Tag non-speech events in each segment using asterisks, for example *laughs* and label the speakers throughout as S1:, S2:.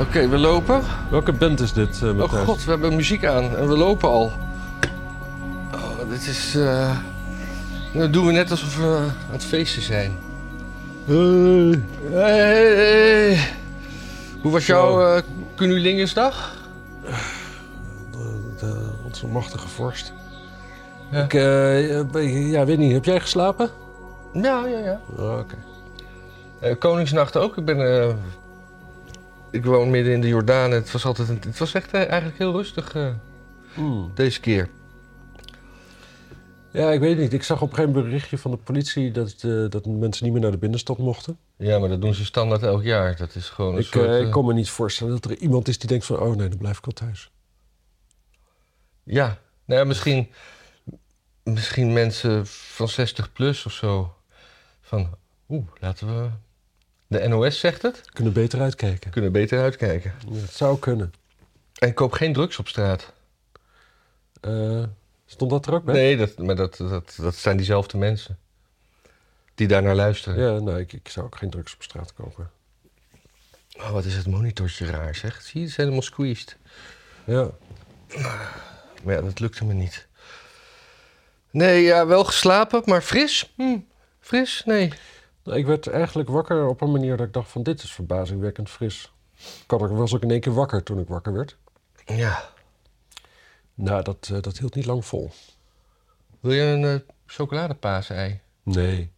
S1: Oké, we lopen.
S2: Welke band is dit, eh
S1: Oh
S2: Matthijs?
S1: god, we hebben muziek aan en we lopen al. Oh, dit is... eh Dat doen we net alsof we aan het feesten zijn.
S2: Hey.
S1: Hey, hey, hey. Hoe was
S2: Zo.
S1: jouw eh Cunulingusdag?
S2: De, de- onze machtige vorst.
S1: Ja.
S2: Ik eh, een beetje- ja, weet niet, heb jij geslapen?
S1: Ja, ja, ja.
S2: Oh, Oké.
S1: Eh, Koningsnacht ook. Ik ben... eh, ik woon midden in de Jordaan. en Het was, altijd een- het was echt eh, eigenlijk heel rustig eh,
S2: Hmm.
S1: deze keer.
S2: Ja, ik weet niet. Ik zag op een gegeven moment een berichtje van de politie dat, eh, dat mensen niet meer naar de binnenstad mochten.
S1: Ja, maar dat doen ze standaard elk jaar. Dat is gewoon een
S2: Ik,
S1: soort...
S2: eh,
S1: eh,
S2: ik kon me niet voorstellen dat er iemand is die denkt van, oh nee, dan blijf ik wel thuis.
S1: Ja, nou ja, misschien, misschien mensen van 60 plus of zo. Van, oeh, laten we... De NOS zegt het.
S2: We kunnen beter uitkijken.
S1: We kunnen beter uitkijken.
S2: Ja, het zou kunnen.
S1: En koop geen drugs op straat.
S2: Eh, stond dat er ook bij?
S1: Nee, dat, maar dat, dat, dat zijn diezelfde mensen. Die daarnaar luisteren.
S2: Ja, nou, ik, ik zou ook geen drugs op straat kopen.
S1: Oh, wat is het monitortje raar, zeg. Zie je, het is helemaal squeezed.
S2: Ja.
S1: Maar ja, dat lukte me niet. Nee, ja, wel geslapen, maar fris. Hm, fris? Nee.
S2: Nou, Ik werd eigenlijk wakker op een manier dat ik dacht van dit is verbazingwekkend fris. Ik had ook- was ook in één keer wakker toen ik wakker werd.
S1: Ja.
S2: Nou, dat, eh, dat hield niet lang vol.
S1: Wil je een eh, chocoladepaasei?
S2: Nee.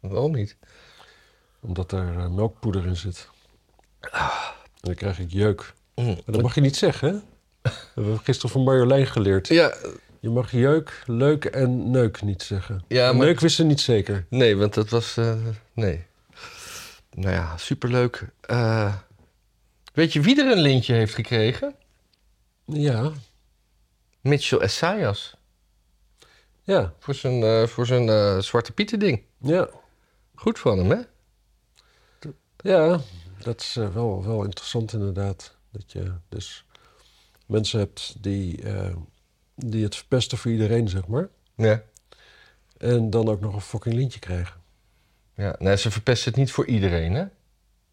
S1: Waarom niet?
S2: Omdat er eh, melkpoeder in zit. En dan krijg ik jeuk.
S1: Mm.
S2: Maar dat mag je niet zeggen,
S1: *laughs*
S2: hè? We hebben gisteren van Marjolein geleerd.
S1: Ja,
S2: Je mag jeuk, leuk en neuk niet zeggen.
S1: Ja, maar-
S2: Neuk wist ze niet zeker.
S1: nee, want dat was... eh, nee. Nou ja, superleuk. Eh, weet je wie er een lintje heeft gekregen?
S2: Ja,
S1: Mitchell Essayas.
S2: ja,
S1: Voor zijn, eh, voor zijn eh, Zwarte Pieten ding.
S2: ja.
S1: Goed van hem, hè?
S2: Ja, dat is eh, wel, wel interessant inderdaad. Dat je dus mensen hebt die, eh, die het verpesten voor iedereen, zeg maar.
S1: Ja.
S2: En dan ook nog een fucking lintje krijgen.
S1: ja. Nee, ze verpesten het niet voor iedereen, hè?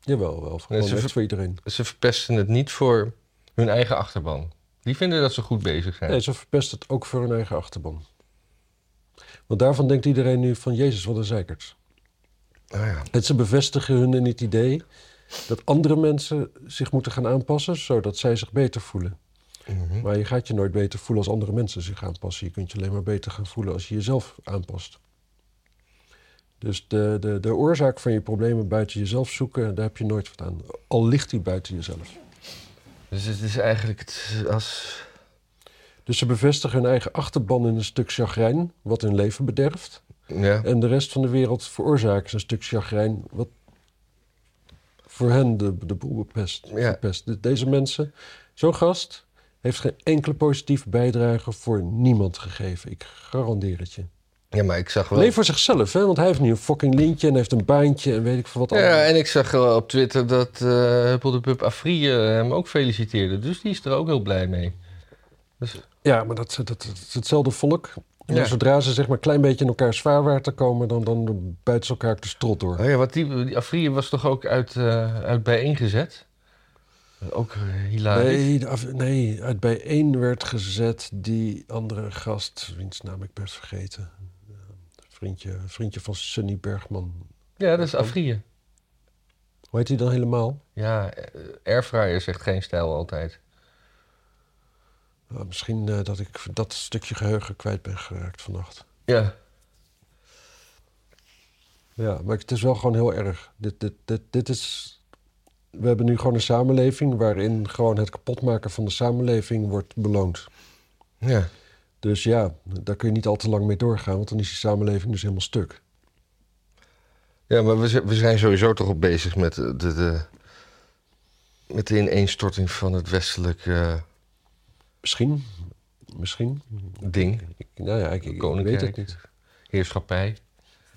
S2: Jawel, wel. Gewoon
S1: ze
S2: echt
S1: ver-
S2: voor iedereen.
S1: Ze verpesten het niet voor hun eigen achterban. Die vinden dat ze goed bezig zijn.
S2: Nee, ze verpest het ook voor hun eigen achterban. Want daarvan denkt iedereen nu van, Jezus, wat een zeikert.
S1: Oh ja.
S2: En ze bevestigen hun in het idee dat andere mensen zich moeten gaan aanpassen, zodat zij zich beter voelen.
S1: Mhm.
S2: Maar je gaat je nooit beter voelen als andere mensen zich aanpassen. Je kunt je alleen maar beter gaan voelen als je jezelf aanpast. Dus de, de, de oorzaak van je problemen buiten jezelf zoeken, daar heb je nooit wat aan. Al ligt die buiten jezelf.
S1: Dus het is eigenlijk het, als...
S2: Dus ze bevestigen hun eigen achterban in een stuk chagrijn, wat hun leven bederft.
S1: Ja.
S2: En de rest van de wereld veroorzaken ze een stuk chagrijn, wat voor hen de, de boel bepest.
S1: Ja.
S2: verpest. De- Deze mensen, zo'n gast, heeft geen enkele positieve bijdrage voor niemand gegeven. Ik garandeer het je.
S1: ja, maar ik zag wel...
S2: Alleen voor zichzelf, hè? want hij heeft nu een fucking lintje en heeft een baantje en weet ik veel wat allemaal.
S1: Ja, en ik zag eh, op Twitter dat eh Huppel de Pup Afri eh, hem ook feliciteerde. Dus die is er ook heel blij mee. Dus,
S2: Ja, maar dat, dat, dat is hetzelfde volk. En
S1: Ja.
S2: Zodra ze zeg maar een klein beetje in elkaars vaarwater komen, dan, dan buiten ze elkaar ook de strot door.
S1: oh ja, want die, die Afri was toch ook uit, eh uit bijeengezet? Ook eh, hilarisch.
S2: Nee, de af- nee, uit bijeen werd gezet die andere gast, wiens naam ik ben vergeten. Eh, Vriendje, vriendje van Sunny Bergman.
S1: Ja, dat is Afrië.
S2: Hoe heet hij dan helemaal?
S1: Ja, eh, airfryer zegt geen stijl altijd.
S2: Nou, misschien eh, dat ik dat stukje geheugen kwijt ben geraakt vannacht.
S1: Ja.
S2: Ja, maar het is wel gewoon heel erg. Dit, dit, dit, dit is. We hebben nu gewoon een samenleving waarin gewoon het kapotmaken van de samenleving wordt beloond.
S1: Ja.
S2: Dus ja, daar kun je niet al te lang mee doorgaan, want dan is die samenleving dus helemaal stuk.
S1: Ja, maar we, zi- we zijn sowieso toch op bezig met de, de, de- met de ineenstorting van het westelijke eh,
S2: Misschien, misschien.
S1: ding.
S2: Ik, nou ja, ik, ik- ik weet
S1: Koninkrijk.
S2: het niet.
S1: Heerschappij,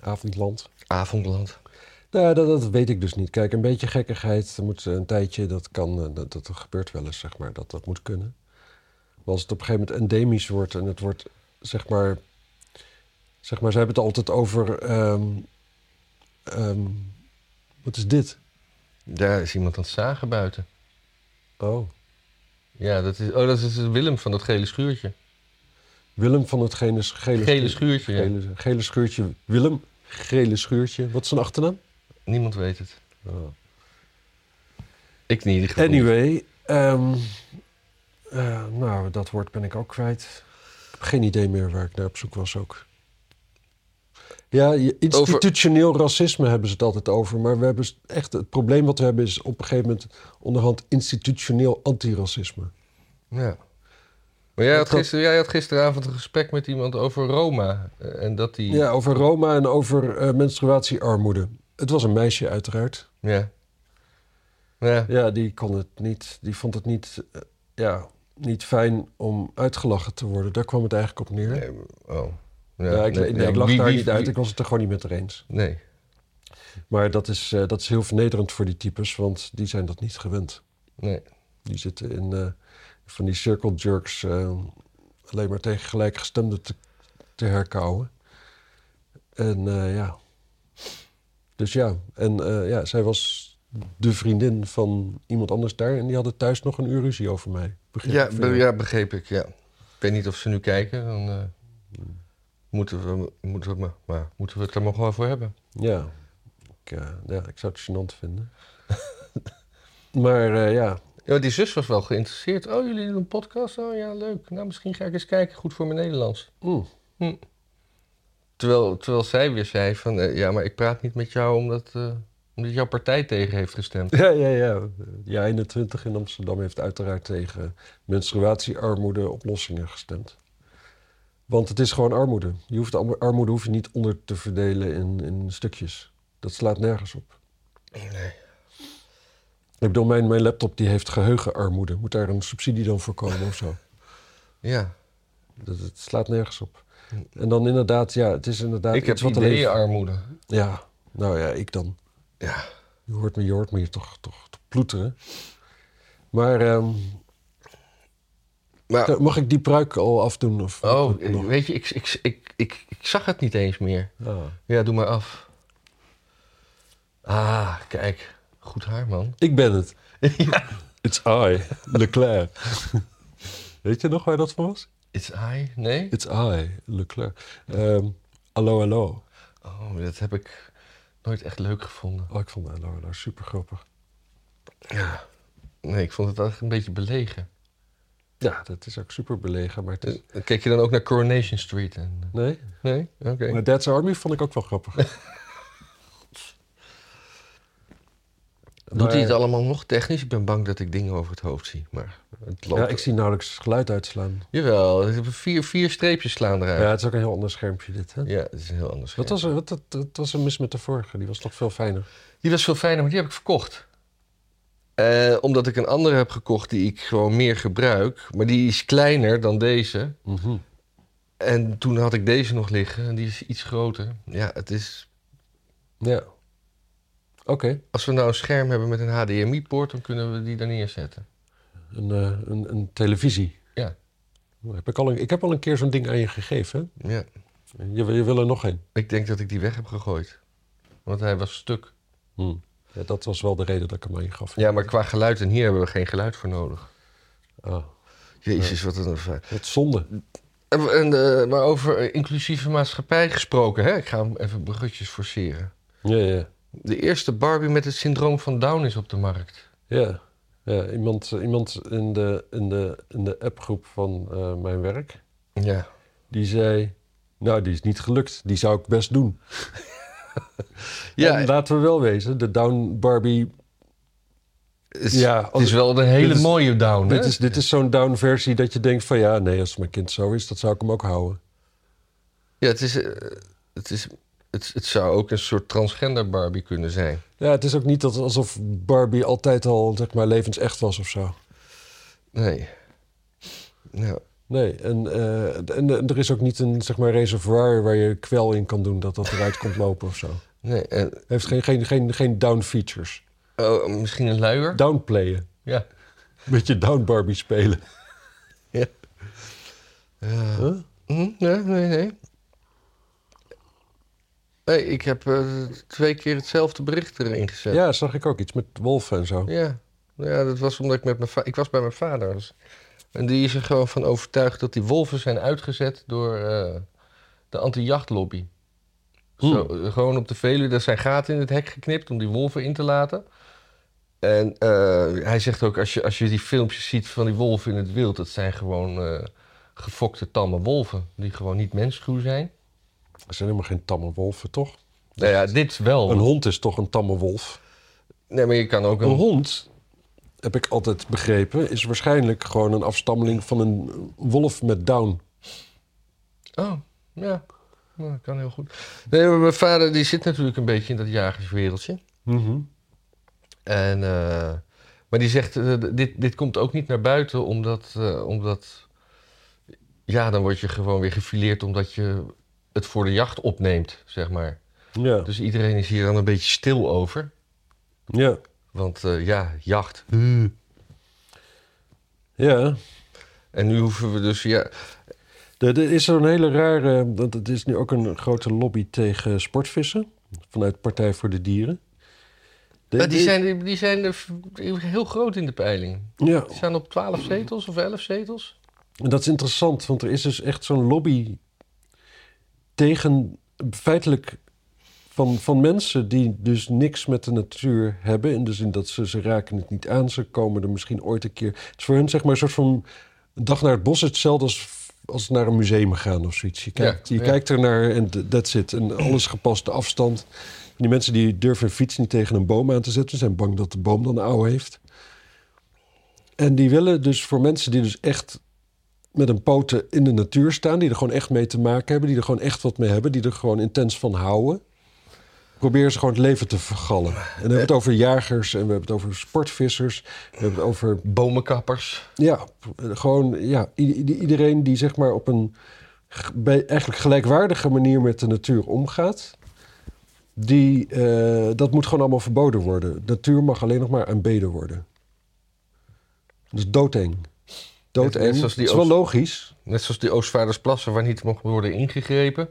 S2: Avondland.
S1: avondland.
S2: Nou, dat, dat weet ik dus niet. Kijk, een beetje gekkigheid er moet eh, een tijdje, dat kan, eh, dat, dat gebeurt wel eens, zeg maar, dat dat moet kunnen. Maar als het op een gegeven moment endemisch wordt en het wordt, zeg maar, zeg maar, ze hebben het altijd over, ehm, ehm, wat is dit?
S1: Daar is iemand aan het zagen buiten.
S2: Oh.
S1: Ja, dat is, oh, dat is Willem van dat gele schuurtje.
S2: Willem van het gele, gele,
S1: Gele
S2: schuur-
S1: schuurtje, ja.
S2: gele, gele schuurtje. Willem, gele schuurtje. Wat is zijn achternaam?
S1: Niemand weet het.
S2: Oh.
S1: Ik niet in ieder geval.
S2: Anyway, ehm, eh, nou, dat woord ben ik ook kwijt. Ik heb geen idee meer waar ik naar op zoek was ook. Ja, je- institutioneel racisme hebben ze het altijd over. Maar we hebben s- echt, het probleem wat we hebben is op een gegeven moment onderhand institutioneel antiracisme.
S1: Ja. Maar jij had,
S2: Dat-
S1: gister, jij had gisteravond een gesprek met iemand over Roma. eh, En dat die...
S2: Ja, over Roma en over eh, menstruatiearmoede. Het was een meisje uiteraard.
S1: Ja. Ja.
S2: Ja, die kon het niet. Die vond het niet, eh, ja, niet fijn om uitgelachen te worden. Daar kwam het eigenlijk op neer.
S1: Nee, oh. Ja,
S2: Ja, ik,
S1: nee,
S2: nee,
S1: nee,
S2: ik lag
S1: wie-
S2: daar
S1: wie-
S2: niet uit.
S1: wie-
S2: Ik was het er gewoon niet met haar eens.
S1: Nee.
S2: Maar dat is, eh, dat is heel vernederend voor die types, want die zijn dat niet gewend.
S1: Nee.
S2: Die zitten in eh, van die circle jerks eh, alleen maar tegen gelijkgestemden te, te herkauwen. En eh, ja. Dus ja, en eh, ja, zij was de vriendin van iemand anders daar en die hadden thuis nog een uur ruzie over mij. Begreep
S1: Ja,
S2: ik van
S1: be-
S2: jou.
S1: ja, begreep ik. Ja. Ik weet niet of ze nu kijken. Dan, eh,
S2: Hmm.
S1: moeten, we, moeten, we, maar- maar, moeten we het er maar gewoon voor hebben.
S2: Ja, ik, eh, ja, ik zou het gênant vinden. *laughs* maar eh, ja,
S1: Ja, want die zus was wel geïnteresseerd. Oh, jullie doen een podcast? Oh ja, leuk. Nou, misschien ga ik eens kijken. Goed voor mijn Nederlands.
S2: mm,
S1: Terwijl, terwijl zij weer zei van... eh, ja, maar ik praat niet met jou omdat, eh, omdat jouw partij tegen heeft gestemd.
S2: Ja, ja, ja. Die 21 in Amsterdam heeft uiteraard tegen menstruatiearmoede oplossingen gestemd. Want het is gewoon armoede. Je hoeft de armoede hoef je niet onder te verdelen in, in stukjes. Dat slaat nergens op.
S1: Nee.
S2: Ik bedoel, mijn, mijn laptop die heeft geheugenarmoede. Moet daar een subsidie dan voor komen of
S1: *laughs*
S2: zo?
S1: Ja,
S2: Dat, het slaat nergens op. En dan inderdaad, ja, het is inderdaad
S1: ik heb
S2: Ah, iets wat alleen-
S1: ideeënarmoede.
S2: Ja, nou ja, ik dan.
S1: Ja.
S2: Je hoort me, je hoort me hier toch, toch, toch ploeteren. Maar ehm,
S1: Maar,
S2: Zo, Mag ik die pruik al afdoen? Of
S1: oh,
S2: moet ik nog?
S1: weet je, ik, ik, ik, ik, ik zag het niet eens meer.
S2: Ah.
S1: Ja, doe maar af. Ah, kijk. Goed haar, man. *laughs*
S2: Ik ben het. It's I, Leclerc. *laughs* Weet je nog waar dat van was?
S1: It's I? Nee?
S2: It's I, Leclerc. Ehm allo, allo.
S1: Oh, dat heb ik nooit echt leuk gevonden.
S2: Oh, ik vond allo, allo super grappig.
S1: Ja. Nee, ik vond het echt een beetje belegen.
S2: Ja, dat is ook super belegen, maar het is...
S1: Eh, Kijk je dan ook naar Coronation Street? En... eh?
S2: Nee?
S1: Nee? Oké.
S2: Maar Dad's Army vond ik ook wel *laughs* grappig.
S1: Doet hij het allemaal nog technisch? Ik ben bang dat ik dingen over het hoofd zie. Maar het loopt...
S2: Ja, ik zie nauwelijks geluid uitslaan.
S1: Jawel, er hebben vier, vier streepjes slaan
S2: Ja,
S1: eruit. Ja,
S2: het is ook een heel ander schermpje dit, hè?
S1: dat is een heel anders.
S2: Wat was er, wat, dat, dat was er mis met de vorige? Die was toch veel fijner?
S1: Die was veel fijner, maar die heb ik verkocht. Eh, omdat ik een andere heb gekocht die ik gewoon meer gebruik. Maar die is kleiner dan deze. En toen had ik deze nog liggen en die is iets groter. Ja, het is...
S2: Ja. Oké.
S1: Als we nou een scherm hebben met een HDMI-poort, dan kunnen we die daar neerzetten.
S2: Een, eh, een, een televisie.
S1: Ja,
S2: Heb ik, al een, ik heb al een keer zo'n ding aan je gegeven.
S1: ja.
S2: hè? Je, je wil er nog een.
S1: Ik denk dat ik die weg heb gegooid. Want hij was stuk.
S2: Hm. Ja, dat was wel de reden dat ik hem aan je gaf.
S1: Ja, maar qua geluid en hier hebben we geen geluid voor nodig.
S2: Ah,
S1: Jezus, wat een... fijn.
S2: wat zonde.
S1: En, en, eh, maar over inclusieve maatschappij gesproken, hè? Ik ga hem even bruggetjes forceren.
S2: Ja, ja.
S1: De eerste Barbie met het syndroom van Down is op de markt.
S2: ja. ja iemand iemand in, de, in, de, in de appgroep van eh, mijn werk,
S1: Ja.
S2: die zei... Nou, die is niet gelukt. Die zou ik best doen.
S1: Ja,
S2: En laten we wel wezen, de Down Barbie...
S1: het is,
S2: ja,
S1: het is wel een hele
S2: dit is-
S1: mooie Down, hè?
S2: Dit is, dit is zo'n Down versie dat je denkt van... Ja, nee, als mijn kind zo is, dat zou ik hem ook houden.
S1: Ja, het is... eh, het is het, het zou ook een soort transgender Barbie kunnen zijn.
S2: Ja, het is ook niet dat, alsof Barbie altijd al zeg maar, levensecht was of zo.
S1: Nee. Nou,
S2: Nee, en, eh, en eh, er is ook niet een zeg maar, reservoir waar je kwel in kan doen dat dat eruit komt lopen of zo.
S1: nee. En,
S2: Heeft geen, geen, geen, geen down features.
S1: oh, misschien een luier?
S2: Downplayen.
S1: Ja.
S2: Beetje down Barbie spelen.
S1: Ja. Ja.
S2: Huh?
S1: Mhm, Hm, Nee, nee, nee. Nee, ik heb eh, twee keer hetzelfde bericht erin gezet.
S2: Ja, zag ik ook iets met wolven en zo.
S1: Ja. Nou ja, dat was omdat ik met mijn va- ik was bij mijn vader. dus- en die is er gewoon van overtuigd dat die wolven zijn uitgezet door eh, de anti-jachtlobby. Zo, eh, gewoon op de Veluwe, daar zijn gaten in het hek geknipt om die wolven in te laten. En eh, hij zegt ook, als je, als je die filmpjes ziet van die wolven in het wild... dat zijn gewoon eh, gefokte tamme wolven, die gewoon niet menschuw zijn.
S2: Er zijn helemaal geen tamme wolven, toch?
S1: Nou ja, dit wel.
S2: Een hond is toch een tamme wolf?
S1: Nee, maar je kan ook
S2: Een
S1: een...
S2: hond, heb ik altijd begrepen, is waarschijnlijk gewoon een afstammeling van een wolf met down.
S1: Oh, ja. Nou, dat kan heel goed. Nee, maar mijn vader die zit natuurlijk een beetje in dat jagerswereldje. En, eh, maar die zegt, eh, dit, dit komt ook niet naar buiten omdat, eh, omdat... Ja, dan word je gewoon weer gefileerd omdat je het voor de jacht opneemt, zeg maar.
S2: Ja.
S1: Dus iedereen is hier dan een beetje stil over.
S2: ja.
S1: Want eh, ja, jacht.
S2: Ja.
S1: En nu hoeven we dus... Ja,
S2: Er er is zo'n hele rare. Want het is nu ook een grote lobby tegen sportvissen. Vanuit Partij voor de Dieren. De-
S1: maar die
S2: de-
S1: zijn, die zijn eh, heel groot in de peiling.
S2: Ja,
S1: Die staan op 12 zetels of 11 zetels.
S2: en dat is interessant, want er is dus echt zo'n lobby tegen feitelijk van, van mensen die dus niks met de natuur hebben. In de zin dat ze, ze raken het niet aan, ze komen er misschien ooit een keer. Het is voor hun zeg maar een soort van een dag naar het bos hetzelfde als, als naar een museum gaan of zoiets. Je kijkt,
S1: Ja,
S2: je
S1: ja.
S2: kijkt er naar en d- that's it. En alles gepast, de afstand. En die mensen die durven hun fiets niet tegen een boom aan te zetten, zijn bang dat de boom dan auw heeft. En die willen dus voor mensen die dus echt met een poten in de natuur staan, die er gewoon echt mee te maken hebben, die er gewoon echt wat mee hebben, die er gewoon intens van houden. Probeer ze gewoon het leven te vergallen. En dan hebben we het over jagers en we hebben het over sportvissers. We hebben het over,
S1: bomenkappers.
S2: ja, gewoon ja, i- i- iedereen die zeg maar op een g- bij- eigenlijk gelijkwaardige manier met de natuur omgaat. Die, eh, dat moet gewoon allemaal verboden worden. Natuur mag alleen nog maar aanbeden worden. Dat is doodeng. Doodeng.
S1: net
S2: Het
S1: zoals
S2: is
S1: die
S2: wel
S1: Oost-
S2: logisch.
S1: Net zoals die Oostvaardersplassen waar niet mocht worden ingegrepen.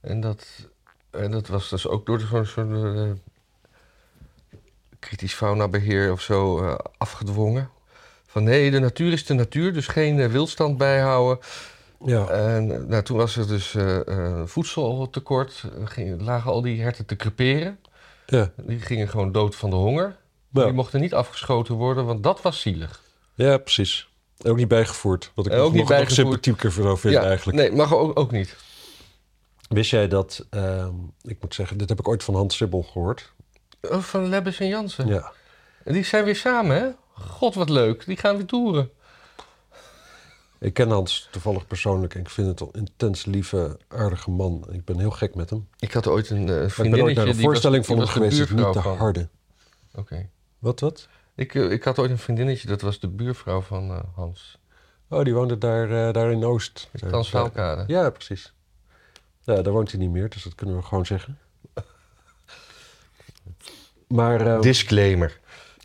S1: En dat, en dat was dus ook door zo'n zo'n, eh, kritisch faunabeheer of zo eh, afgedwongen. Van nee, de natuur is de natuur, dus geen eh, wildstand bijhouden.
S2: Ja.
S1: En eh, nou, toen was er dus eh, eh, voedseltekort. Er gingen- lagen al die herten te creperen.
S2: Ja,
S1: Die gingen gewoon dood van de honger.
S2: Ja.
S1: Die mochten niet afgeschoten worden, want dat was zielig.
S2: ja precies. En Ook niet bijgevoerd. Wat ik
S1: En
S2: ook
S1: Eh, ook
S2: nog,
S1: niet
S2: nog, nog
S1: bijgevoerd.
S2: sympathieker voor vind eigenlijk.
S1: Nee, mag ook, ook niet.
S2: Wist jij dat, ehm, ik moet zeggen, dit heb ik ooit van Hans Sibbel gehoord.
S1: Oh, van Lebbes en Jansen.
S2: Ja.
S1: En Die zijn weer samen, hè? God, wat leuk. Die gaan weer toeren.
S2: Ik ken Hans toevallig persoonlijk en ik vind het een intens lieve, aardige man. Ik ben heel gek met hem.
S1: Ik had ooit een eh,
S2: Maar ik ben ooit
S1: vriendinnetje...
S2: naar een
S1: die was-
S2: voorstelling
S1: die
S2: van hem
S1: was de
S2: geweest, dus
S1: buurvrouw
S2: niet de
S1: van-
S2: harde.
S1: Oké.
S2: Wat, wat?
S1: Ik, eh, ik had ooit een vriendinnetje, dat was de buurvrouw van eh, Hans.
S2: Oh, die woonde daar, eh, daar in Oost. Daar- daar-
S1: Transvaalkade.
S2: Ja, precies. Ja, daar woont hij niet meer, dus dat kunnen we gewoon zeggen. Maar... ehm,
S1: Disclaimer.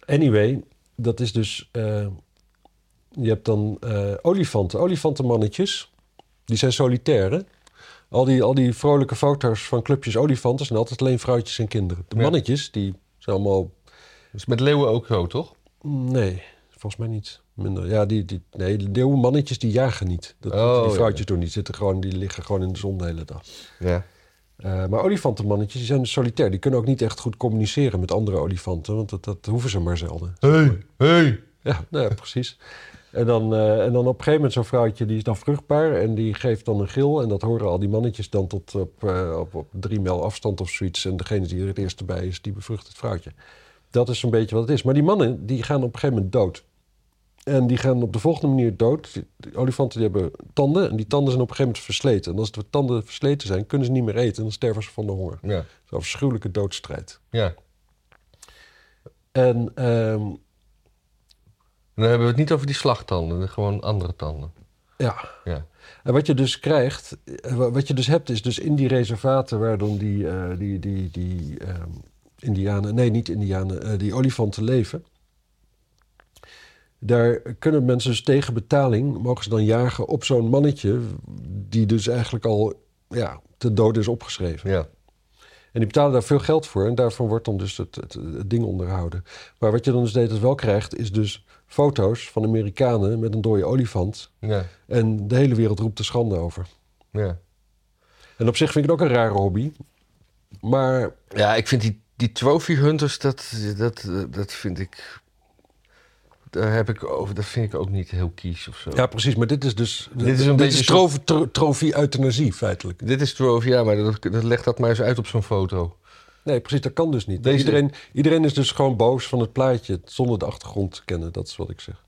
S2: Anyway, dat is dus. eh, je hebt dan eh, olifanten, olifantenmannetjes. Die zijn solitair. hè? Al die, al die vrolijke foto's van clubjes olifanten zijn altijd alleen vrouwtjes en kinderen. De
S1: Ja.
S2: mannetjes, die zijn allemaal.
S1: Dat
S2: Dus
S1: is met leeuwen ook zo, toch?
S2: Nee, volgens mij niet. Minder. Ja, die, die, nee, de leeuwenmannetjes die jagen niet. Dat moeten
S1: Oh,
S2: die
S1: ja.
S2: vrouwtjes doen. Die, zitten gewoon, die liggen gewoon in de zon de hele dag.
S1: Ja.
S2: Eh, maar olifantenmannetjes die zijn dus solitair. Die kunnen ook niet echt goed communiceren met andere olifanten. Want dat, dat hoeven ze maar zelden.
S1: Hey, hey.
S2: Ja, nou ja, precies. En dan, eh, en dan op een gegeven moment zo'n vrouwtje, die is dan vruchtbaar en die geeft dan een gil. En dat horen al die mannetjes dan tot op, eh, op, op drie mijl afstand of zoiets. En degene die er het eerste bij is, die bevrucht het vrouwtje. Dat is een beetje wat het is. Maar die mannen, die gaan op een gegeven moment dood. En die gaan op de volgende manier dood. Die- die olifanten die hebben tanden en die tanden zijn op een gegeven moment versleten. En als de tanden versleten zijn, kunnen ze niet meer eten en dan sterven ze van de honger.
S1: Ja.
S2: Zo'n afschuwelijke doodstrijd.
S1: Ja.
S2: En ehm,
S1: Dan hebben we het niet over die slagtanden, gewoon andere tanden.
S2: ja,
S1: Ja.
S2: En wat je dus krijgt, eh, wa- wat je dus hebt, is dus in die reservaten waar dan die, eh, die, die, die ehm, indianen, nee niet indianen, eh, die olifanten leven. Daar kunnen mensen dus tegen betaling, mogen ze dan jagen op zo'n mannetje die dus eigenlijk al ja, te dood is opgeschreven.
S1: Ja.
S2: En die betalen daar veel geld voor. En daarvan wordt dan dus het, het, het ding onderhouden. Maar wat je dan dus deed wel krijgt, is dus foto's van Amerikanen met een dode olifant.
S1: Ja,
S2: En de hele wereld roept de schande over.
S1: ja.
S2: En op zich vind ik het ook een rare hobby. Maar
S1: ja ik vind die, die trophy hunters, dat, dat, dat vind ik... Daar heb ik over, dat vind ik ook niet heel kies of zo.
S2: ja, precies. Maar dit is dus.
S1: Dit is een beetje
S2: trof- tro- trofee-euthanasie feitelijk.
S1: Dit is trophy, ja, maar dat, dat legt dat maar eens uit op zo'n foto.
S2: Nee, precies. Dat kan dus niet.
S1: Deze-
S2: Iedereen, iedereen is dus gewoon boos van het plaatje. Zonder de achtergrond te kennen. Dat is wat ik zeg.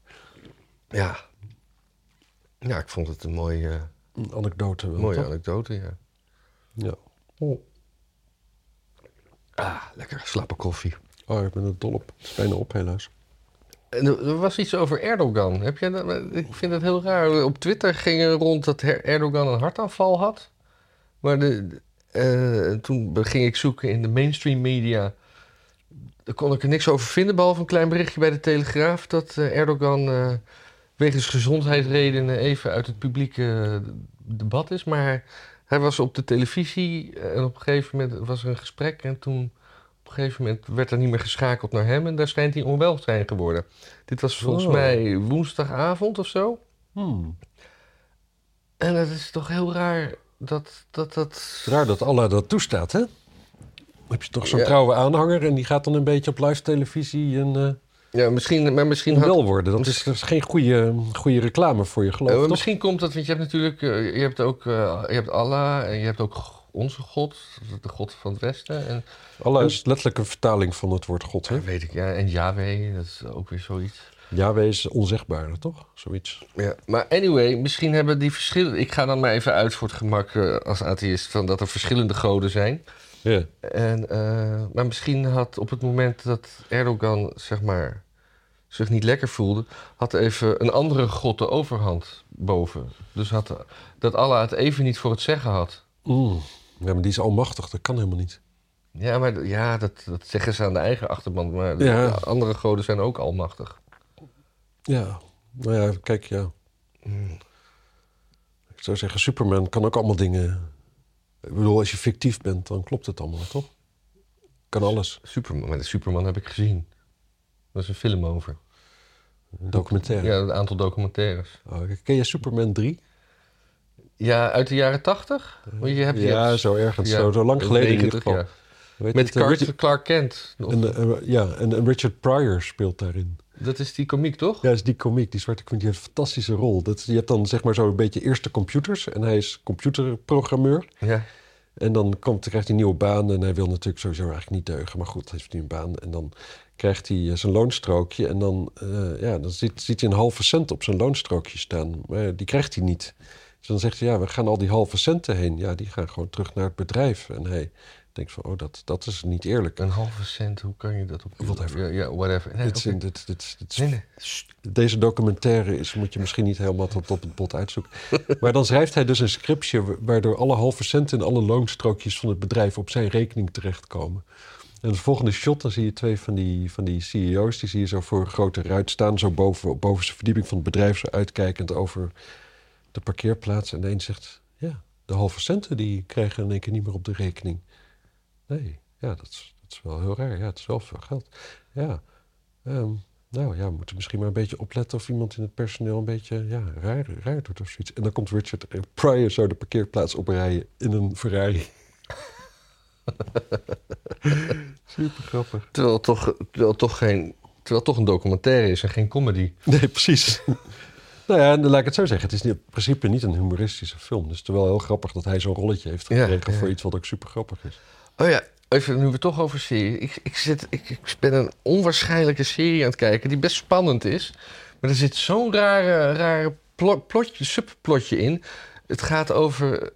S1: Ja. Ja, ik vond het een mooie, eh,
S2: Een anekdote. Wel,
S1: mooie
S2: toch? Oh.
S1: anekdote, ja.
S2: Ja.
S1: Ah, lekker slappe koffie.
S2: Oh, ik ben er dol op. Het is bijna op, helaas.
S1: En er er was iets over Erdogan. Heb jij dat, ik vind het heel raar. Op Twitter ging er rond dat Her- Erdogan een hartaanval had. Maar de, de- eh, toen ging ik zoeken in de mainstream media. Daar kon ik er niks over vinden, behalve een klein berichtje bij de Telegraaf... dat eh, Erdogan eh, wegens gezondheidsredenen even uit het publieke eh, debat is. Maar hij was op de televisie eh, en op een gegeven moment was er een gesprek... en toen op een gegeven moment werd er niet meer geschakeld naar hem... en daar schijnt hij onwel te zijn geworden. Dit was volgens
S2: Oh.
S1: mij woensdagavond of zo.
S2: Hmm.
S1: En het is toch heel raar dat dat... dat...
S2: Raar dat Allah dat toestaat, hè? Heb je toch zo'n
S1: Ja.
S2: trouwe aanhanger en die gaat dan een beetje op live televisie een eh,
S1: Ja, misschien, maar misschien had
S2: onwel worden. Dat is, dat is geen goede, goede reclame voor je geloof,
S1: Eh, maar
S2: toch?
S1: misschien komt dat, want je hebt natuurlijk, eh, je hebt ook, eh, je hebt Allah en je hebt ook g- onze God, de God van het Westen. En,
S2: Allah is letterlijk een Oh, vertaling van het woord God, hè?
S1: dat weet ik, ja, en Yahweh, dat is ook weer zoiets.
S2: Yahweh is onzegbare, toch? Zoiets.
S1: Ja. Maar anyway, misschien hebben die verschillen. Ik ga dan maar even uit voor het gemak eh, als atheïst van dat er verschillende goden zijn.
S2: Ja.
S1: En, eh, maar misschien had op het moment dat Erdogan zeg maar, zich niet lekker voelde, had even een andere god de overhand boven. Dus had, eh, dat Allah het even niet voor het zeggen had.
S2: Mm. Ja, maar die is almachtig, dat kan helemaal niet.
S1: Ja, maar d- ja, dat, dat zeggen ze aan de eigen achterban. Maar de-
S2: Ja.
S1: de andere goden zijn ook almachtig.
S2: Ja, nou ja, kijk, ja.
S1: Mm.
S2: Ik zou zeggen, Superman kan ook allemaal dingen... Ik bedoel, als je fictief bent, dan klopt het allemaal, toch? Kan alles.
S1: Superman, maar de Superman heb ik gezien. Dat is een film over.
S2: Een documentaire.
S1: Ja, een aantal documentaires.
S2: Oh, ken je Superman 3?
S1: Ja, uit de jaren tachtig? Want je hebt, je
S2: ja,
S1: hebt-
S2: zo ergens.
S1: ja,
S2: zo, zo lang geleden in ieder
S1: 90,
S2: geval.
S1: ja.
S2: Weet
S1: Met
S2: het, eh,
S1: Clark,
S2: Richard-
S1: Clark Kent. Of-
S2: en, eh, ja, en, en Richard Pryor speelt daarin.
S1: dat is die komiek, toch?
S2: Ja, is die komiek, die zwarte komiek, die heeft een fantastische rol. Dat, je hebt dan zeg maar zo een beetje eerste computers. En hij is computerprogrammeur.
S1: Ja.
S2: En dan komt, krijgt hij een nieuwe baan en hij wil natuurlijk sowieso eigenlijk niet deugen. Maar goed, heeft hij een baan en dan krijgt hij eh, zijn loonstrookje. En dan, eh, ja, dan ziet, ziet hij een halve cent op zijn loonstrookje staan. Maar ja, die krijgt hij niet. Dus dan zegt hij, ja, we gaan al die halve centen heen. Ja, die gaan gewoon terug naar het bedrijf. En hij denkt van, oh, dat, dat is niet eerlijk.
S1: Een halve cent, hoe kan je dat op...
S2: Whatever.
S1: Ja, ja, whatever. Nee,
S2: Dit, is-
S1: oké.
S2: dit, dit, dit is-
S1: Nee, nee.
S2: Deze documentaire is, moet je misschien niet helemaal tot op het bot
S1: *laughs*
S2: uitzoeken. Maar dan schrijft hij dus een scriptje wa- waardoor alle halve centen en alle loonstrookjes van het bedrijf op zijn rekening terechtkomen. En het volgende shot, dan zie je twee van die, van die CEO's, die zie je zo voor een grote ruit staan, zo boven, boven zijn verdieping van het bedrijf, zo uitkijkend over de parkeerplaats. En de een zegt, ja, de halve centen die krijgen in één keer niet meer op de rekening. Nee, ja, dat is, dat is wel heel raar. Ja, het is wel veel geld. Ja, Ehm, nou ja, we moeten misschien maar een beetje opletten of iemand in het personeel een beetje ja, raar, raar doet of zoiets. En dan komt Richard Pryor zo de parkeerplaats oprijden in een Ferrari. *laughs* Super grappig.
S1: Terwijl het toch, terwijl het toch geen... Terwijl het toch een documentaire is en geen comedy.
S2: Nee, precies. nou ja, en dan laat ik het zo zeggen. Het is niet- in principe niet een humoristische film. Dus het is wel heel grappig dat hij zo'n rolletje heeft
S1: Ja,
S2: gekregen
S1: ja.
S2: voor iets wat ook super grappig is.
S1: Oh ja, even nu we het toch over serie. Ik, ik, zit, ik, ik ben een onwaarschijnlijke serie aan het kijken die best spannend is. Maar er zit zo'n rare, rare plo- plotje, subplotje in. Het gaat over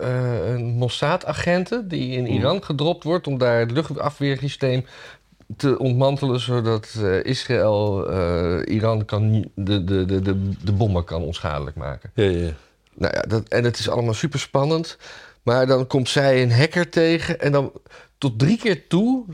S1: eh, een Mossad-agenten die in Iran gedropt wordt om daar het luchtafweersysteem te ontmantelen zodat eh, Israël eh, Iran kan, de, de, de, de, de bommen kan onschadelijk maken.
S2: Ja, ja, ja.
S1: Nou ja, dat, en het is allemaal super spannend. Maar dan komt zij een hacker tegen en dan tot drie keer toe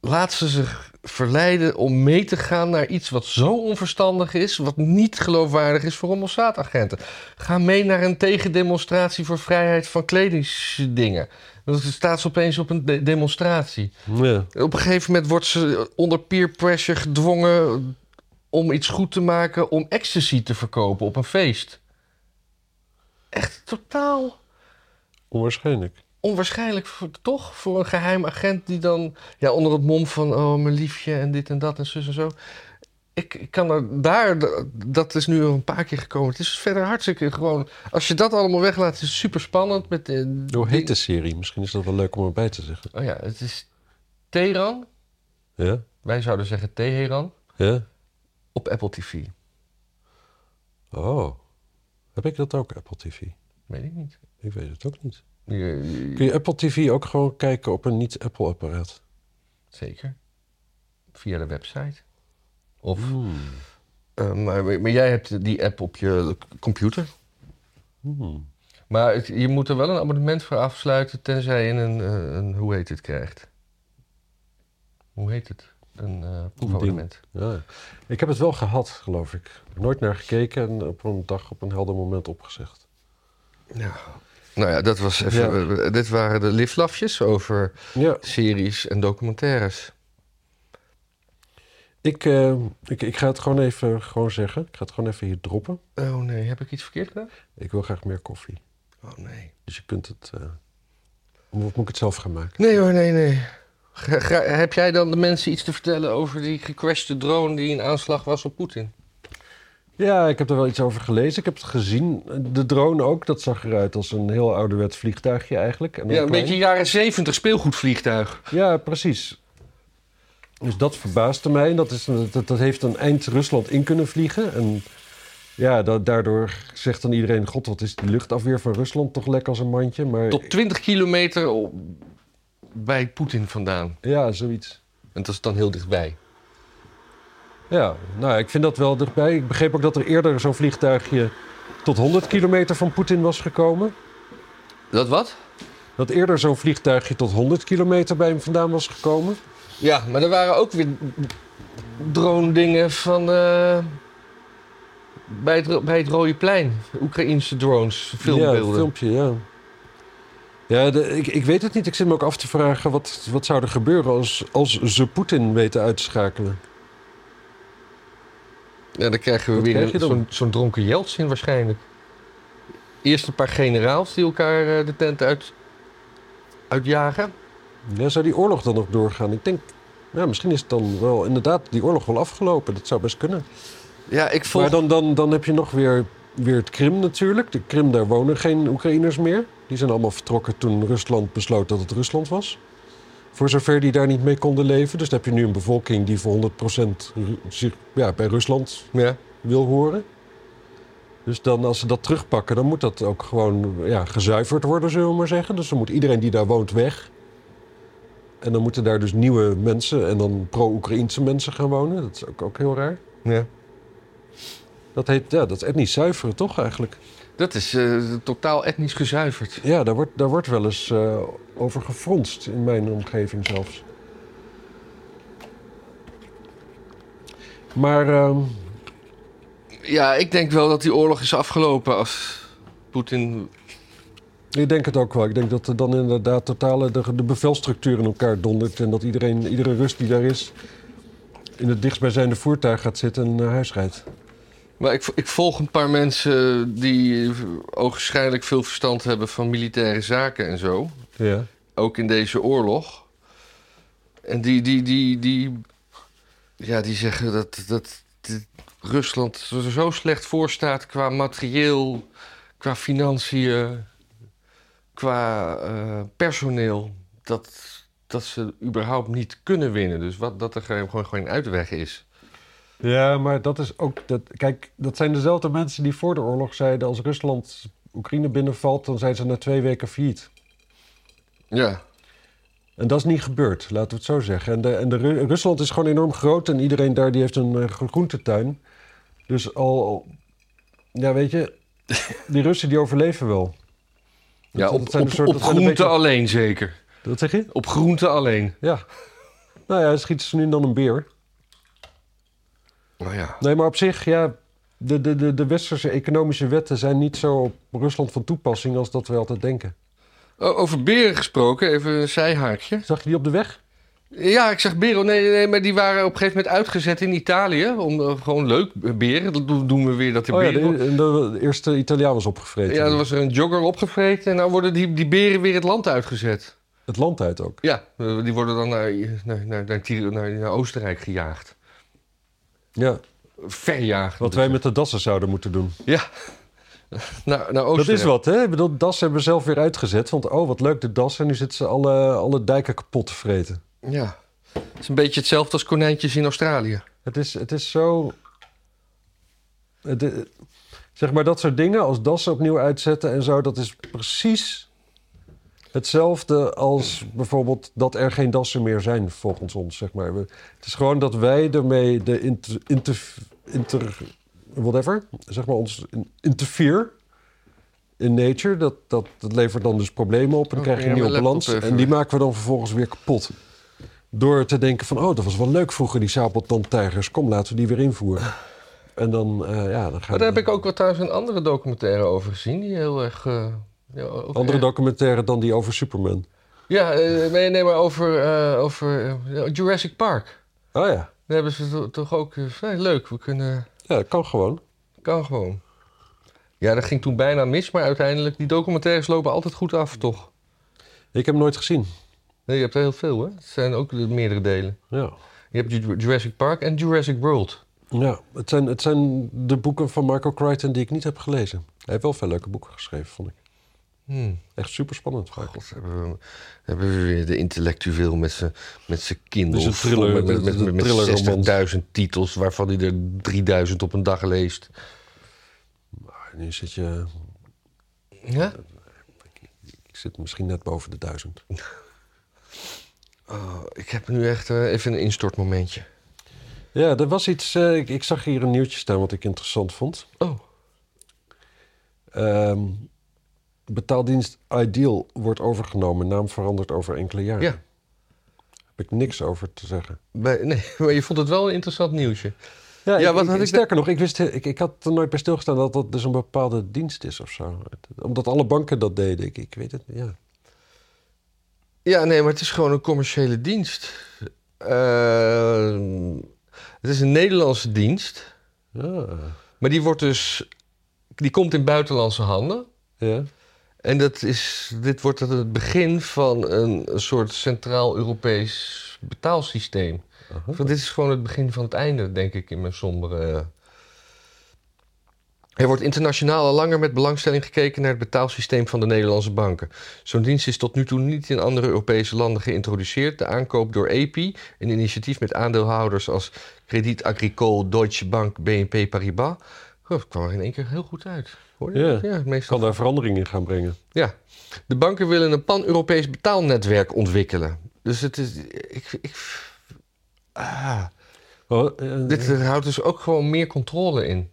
S1: laat ze zich verleiden om mee te gaan naar iets wat zo onverstandig is, wat niet geloofwaardig is voor Mossad-agenten. Ga mee naar een tegendemonstratie voor vrijheid van kledingsdingen. Dan staat ze opeens op een de- demonstratie.
S2: Ja.
S1: Op een gegeven moment wordt ze onder peer pressure gedwongen om iets goed te maken, om ecstasy te verkopen op een feest. Echt totaal
S2: Onwaarschijnlijk.
S1: onwaarschijnlijk, voor- toch? Voor een geheim agent die dan ja, onder het mom van oh, mijn liefje en dit en dat en zus en zo. Ik, ik kan er daar, d- dat is nu al een paar keer gekomen. Het is verder hartstikke gewoon. Als je dat allemaal weglaat, is het super spannend. Met, eh,
S2: Hoe heet
S1: ding-
S2: de serie? Misschien is dat wel leuk om erbij te zeggen.
S1: Oh ja, het is Teheran.
S2: Ja?
S1: Wij zouden zeggen Teheran.
S2: Ja?
S1: Op Apple TV.
S2: Oh. Heb ik dat ook, Apple TV?
S1: Weet ik niet.
S2: Ik weet het ook niet.
S1: Je- je-
S2: Kun je Apple TV ook gewoon kijken op een niet-Apple-apparaat?
S1: Zeker. Via de website. Of. Eh, maar, maar jij hebt die app op je computer.
S2: Hmm.
S1: Maar het- je moet er wel een abonnement voor afsluiten, tenzij je een, eh, een hoe heet het krijgt. Hoe heet het? Een eh proefabonnement.
S2: Ja. Ik heb het wel gehad, geloof ik. Ik heb er nooit naar gekeken en op een dag op een helder moment opgezegd.
S1: Nou ja, dat was even. eh, dit waren de liflafjes over
S2: Ja.
S1: series en documentaires.
S2: Ik, eh, ik, ik ga het gewoon even gewoon zeggen. Ik ga het gewoon even hier droppen.
S1: Oh nee, heb ik iets verkeerd gedaan?
S2: Ik wil graag meer koffie.
S1: Oh nee.
S2: Dus je kunt het... eh, moet, moet ik het zelf gaan maken?
S1: Nee hoor, nee, nee. Gra- gra- heb jij dan de mensen iets te vertellen over die gecrashte drone die een aanslag was op Poetin?
S2: Ja, ik heb er wel iets over gelezen. Ik heb het gezien. De drone ook, dat zag eruit als een heel ouderwets vliegtuigje eigenlijk. En dan
S1: Ja, een
S2: klein.
S1: beetje jaren zeventig speelgoedvliegtuig.
S2: Ja, precies. Dus dat verbaasde mij. En Dat, is, dat, dat heeft een eind Rusland in kunnen vliegen. En ja, da- daardoor zegt dan iedereen... God, wat is die luchtafweer van Rusland toch lek als een mandje. Maar
S1: Tot 20 kilometer op- bij Poetin vandaan.
S2: ja, zoiets.
S1: En dat is dan heel dichtbij.
S2: Ja, nou, ik vind dat wel dichtbij. Ik begreep ook dat er eerder zo'n vliegtuigje... tot 100 kilometer van Poetin was gekomen.
S1: Dat wat?
S2: Dat eerder zo'n vliegtuigje tot 100 kilometer bij hem vandaan was gekomen.
S1: Ja, maar er waren ook weer drone-dingen van. eh, bij, het, Ro- bij het Rode Plein. Oekraïense drones,
S2: Ja,
S1: filmbeelden.
S2: filmpje, ja. Ja, de- ik, ik weet het niet. Ik zit me ook af te vragen wat, wat zou er gebeuren als, als ze Poetin weten uitschakelen.
S1: Ja, dan krijgen we
S2: Wat
S1: weer
S2: krijg je
S1: een-
S2: dan?
S1: zo'n zo'n dronken Jeltsin waarschijnlijk. Eerst een paar generaals die elkaar eh, de tent uit, uitjagen.
S2: Ja, zou die oorlog dan nog doorgaan? Ik denk, ja, misschien is het dan wel inderdaad die oorlog wel afgelopen. Dat zou best kunnen.
S1: Ja, ik volg.
S2: Maar dan, dan, dan heb je nog weer, weer het Krim natuurlijk. De Krim, daar wonen geen Oekraïners meer. Die zijn allemaal vertrokken toen Rusland besloot dat het Rusland was. Voor zover die daar niet mee konden leven. Dus dan heb je nu een bevolking die voor 100% Ru- zich ja, bij Rusland
S1: Ja.
S2: wil horen. Dus dan als ze dat terugpakken, dan moet dat ook gewoon ja, gezuiverd worden, zullen we maar zeggen. Dus dan moet iedereen die daar woont weg. En dan moeten daar dus nieuwe mensen en dan pro-Oekraïnse mensen gaan wonen. Dat is ook, ook heel raar.
S1: ja.
S2: Dat heet, ja, dat is etnisch zuiveren, toch eigenlijk?
S1: Dat is eh, totaal etnisch gezuiverd.
S2: Ja, daar wordt, daar wordt wel eens eh, over gefronst in mijn omgeving zelfs. Maar ehm,
S1: Ja, ik denk wel dat die oorlog is afgelopen als Poetin.
S2: Ik denk het ook wel. Ik denk dat er dan inderdaad totale de, de bevelstructuur in elkaar dondert. En dat iedereen, iedere Rus die daar is, in het dichtstbijzijnde voertuig gaat zitten en naar huis rijdt.
S1: Maar ik, ik volg een paar mensen die ogenschijnlijk veel verstand hebben van militaire zaken en zo.
S2: Ja.
S1: Ook in deze oorlog. En die, die, die, die, ja, die zeggen dat, dat, dat Rusland er zo slecht voor staat qua materieel, qua financiën, qua eh, personeel. Dat, dat ze überhaupt niet kunnen winnen. Dus wat, dat er gewoon, gewoon geen uitweg is.
S2: ja, maar dat is ook. Dat, kijk, dat zijn dezelfde mensen die voor de oorlog zeiden: als Rusland Oekraïne binnenvalt, dan zijn ze na twee weken failliet.
S1: Ja.
S2: En dat is niet gebeurd, laten we het zo zeggen. En, de, en de Ru- Rusland is gewoon enorm groot en iedereen daar die heeft een eh, gro- groentetuin. Dus al, ja weet je, die Russen die overleven wel.
S1: Ja,
S2: dat
S1: op,
S2: zijn
S1: op,
S2: een soort-
S1: op
S2: dat zijn een
S1: groente
S2: beetje-
S1: alleen zeker.
S2: Dat zeg je?
S1: Op groente alleen.
S2: Ja. Nou ja, schieten ze nu en dan een beer.
S1: Nou ja.
S2: Nee, maar op zich, ja, de, de, de, de westerse economische wetten zijn niet zo op Rusland van toepassing als dat we altijd denken.
S1: O- Over beren gesproken, even een zijhaakje.
S2: Zag je die op de weg?
S1: Ja, ik zeg beren. Nee, nee, maar die waren op een gegeven moment uitgezet in Italië. Om, eh, gewoon leuk, eh, beren. Dat do- doen we weer, dat de
S2: oh ja,
S1: beren...
S2: de, de- de eerste Italiaan was opgevreten.
S1: Ja, er was er een jogger opgevreten. En nou worden die, die beren weer het land uitgezet.
S2: Het land uit ook.
S1: Ja, eh, die worden dan naar, naar, naar, naar, Tir- naar, naar Oostenrijk gejaagd.
S2: Ja,
S1: Verjaagd.
S2: wat wij met de dassen zouden moeten doen.
S1: Ja, *laughs* naar, naar Oostenrijk.
S2: Dat is wat, hè? Ik bedoel, das hebben we zelf weer uitgezet. Want oh, wat leuk de das. En nu zitten ze alle, alle dijken kapot te vreten.
S1: Ja. Het is een beetje hetzelfde als konijntjes in Australië.
S2: Het is, het is zo... het i- zeg maar dat soort dingen als dassen opnieuw uitzetten en zo... dat is precies hetzelfde als bijvoorbeeld dat er geen dassen meer zijn volgens ons. Zeg maar. We- Het is gewoon dat wij ermee de inter... inter, inter whatever, zeg maar ons in- interfere in nature. Dat, dat, dat levert dan dus problemen op en dan
S1: Oh,
S2: krijg je
S1: ja,
S2: een nieuwe
S1: mijn
S2: balans.
S1: laptop even
S2: En die
S1: weg.
S2: maken we dan vervolgens weer kapot. Door te denken van, oh, dat was wel leuk vroeger, die sabeltandtijgers. Kom, laten we die weer invoeren. En dan, eh, ja, dan gaan
S1: Maar daar heb ik ook wel thuis een andere documentaire over gezien. Die heel erg... eh, ja, ook
S2: Andere
S1: erg-
S2: documentaire dan die over Superman.
S1: Ja, eh, nee, nee, maar over, eh, over eh, Jurassic Park.
S2: Oh ja,
S1: Daar hebben ze to- toch ook... eh, vrij leuk, we kunnen...
S2: ja dat kan gewoon.
S1: Kan gewoon. Ja, dat ging toen bijna mis, maar uiteindelijk... Die documentaires lopen altijd goed af, toch?
S2: Ik heb hem nooit gezien.
S1: Nee, je hebt er heel veel, hè? Het zijn ook de meerdere delen.
S2: Ja.
S1: Je hebt Ju- Jurassic Park en Jurassic World.
S2: Ja, het zijn, het zijn de boeken van Marco Crichton die ik niet heb gelezen. Hij heeft wel veel leuke boeken geschreven, vond ik.
S1: Hmm.
S2: Echt super spannend. vaak.
S1: God, Dus hebben we, hebben we weer de intellectueel met zijn met z'n Kindle.
S2: Dus een thriller,
S1: vol met, met,
S2: een
S1: met, met
S2: thrillerroman.
S1: 60.000 titels, waarvan hij er 3000 op een dag leest.
S2: Maar Ah, nu zit je,
S1: Ja?
S2: ik zit misschien net boven de duizend.
S1: Oh, ik heb nu echt eh, even een instortmomentje.
S2: Ja, er was iets, eh, ik, ik zag hier een nieuwtje staan wat ik interessant vond.
S1: Oh,
S2: Ehm, betaaldienst Ideal wordt overgenomen, naam verandert over enkele jaren.
S1: ja.
S2: Heb ik niks over te zeggen.
S1: Bij- nee, *laughs* maar je vond het wel een interessant nieuwsje.
S2: Ja,
S1: Ja,
S2: ik-
S1: wat
S2: ik-
S1: had ik-
S2: sterker nog, ik, wist, ik, ik had er nooit bij stilgestaan dat dat dus een bepaalde dienst is of zo. Omdat alle banken dat deden, ik, ik weet het niet. Ja.
S1: Ja, nee, maar het is gewoon een commerciële dienst. Eh, het is een Nederlandse dienst,
S2: Ja.
S1: maar die wordt dus... Die komt in buitenlandse handen.
S2: ja.
S1: En dat is, dit wordt het- het begin van een, een soort Centraal-Europees betaalsysteem.
S2: Aha.
S1: Want dit is gewoon het begin van het einde, denk ik, in mijn sombere. eh. Er wordt internationaal al langer met belangstelling gekeken naar het betaalsysteem van de Nederlandse banken. Zo'n dienst is tot nu toe niet in andere Europese landen geïntroduceerd. De aankoop door EPI, een initiatief met aandeelhouders als Credit Agricole, Deutsche Bank, BNP Paribas. Goh, het kwam er in één keer heel goed uit. Hoor je?
S2: Ja.
S1: dat? ja meestal
S2: kan daar verandering in gaan brengen.
S1: ja, de banken willen een pan-Europees betaalnetwerk ontwikkelen. Dus het is. Ik, ik, ah,
S2: Oh, eh,
S1: dit houdt dus ook gewoon meer controle in.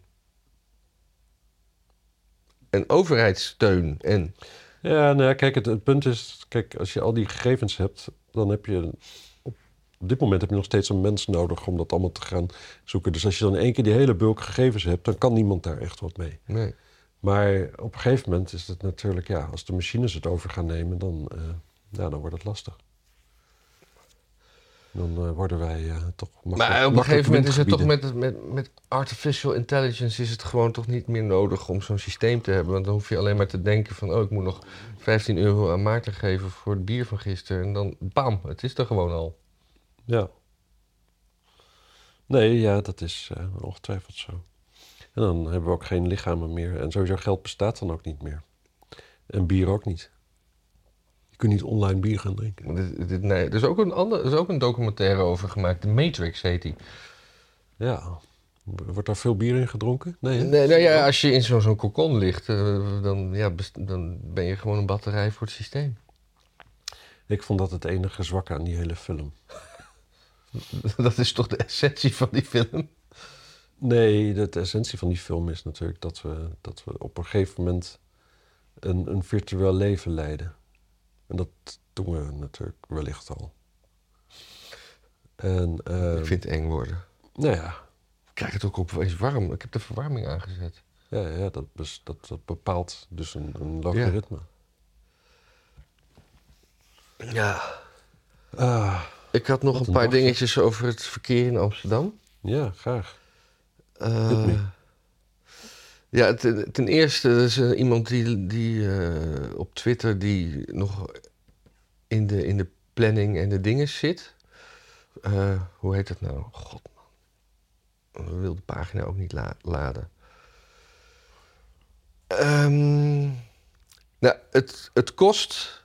S1: En overheidssteun. En,
S2: Ja, nou ja, kijk, het, het punt is, kijk, als je al die gegevens hebt, dan heb je op, op dit moment heb je nog steeds een mens nodig om dat allemaal te gaan zoeken. Dus als je dan in één keer die hele bulk gegevens hebt, dan kan niemand daar echt wat mee.
S1: nee.
S2: Maar op een gegeven moment is het natuurlijk, ja, als de machines het over gaan nemen, dan, eh, ja, dan wordt het lastig. Dan eh, worden wij eh, toch makkelijk-
S1: Maar op een
S2: makkelijk
S1: gegeven moment is het toch
S2: windgebieden.
S1: met, met, met artificial intelligence is het gewoon toch niet meer nodig om zo'n systeem te hebben. Want dan hoef je alleen maar te denken van oh, ik moet nog 15 euro aan Maarten geven voor het bier van gisteren. En dan bam, het is er gewoon al.
S2: Ja. Nee, ja, dat is eh, ongetwijfeld zo. En dan hebben we ook geen lichamen meer. En sowieso geld bestaat dan ook niet meer. En bier ook niet. Je kunt niet online bier gaan drinken.
S1: Dit, dit- nee, er is, ook een ander, er is ook een documentaire over gemaakt. De Matrix heet die.
S2: Ja. Wordt daar veel bier in gedronken? Nee, hè?
S1: Nee, nou ja, als je in zo'n zo'n kokon ligt, eh, dan, ja, best- dan ben je gewoon een batterij voor het systeem. *laughs*
S2: Ik vond dat het enige zwak aan die hele film.
S1: Dat is toch de essentie van die film?
S2: Nee, de, de essentie van die film is natuurlijk dat we, dat we op een gegeven moment een, een virtueel leven leiden. En dat doen we natuurlijk wellicht al. En, eh,
S1: Ik vind het eng worden.
S2: Nou ja,
S1: Ik krijg het ook opeens warm. Ik heb de verwarming aangezet.
S2: ja, ja dat, bes- dat, dat bepaalt dus een, een logaritme.
S1: Ja.
S2: Ah,
S1: Ik had nog
S2: Wat
S1: een
S2: een
S1: paar
S2: nachtje.
S1: dingetjes over het verkeer in Amsterdam.
S2: ja, graag.
S1: Eh,
S2: Hit me.
S1: ja, ten, ten eerste er is eh, iemand die, die eh, op Twitter die nog in de, in de planning en de dingen zit. Eh, hoe heet dat nou? God man. We willen de pagina ook niet la- laden. Ehm, nou, het, het kost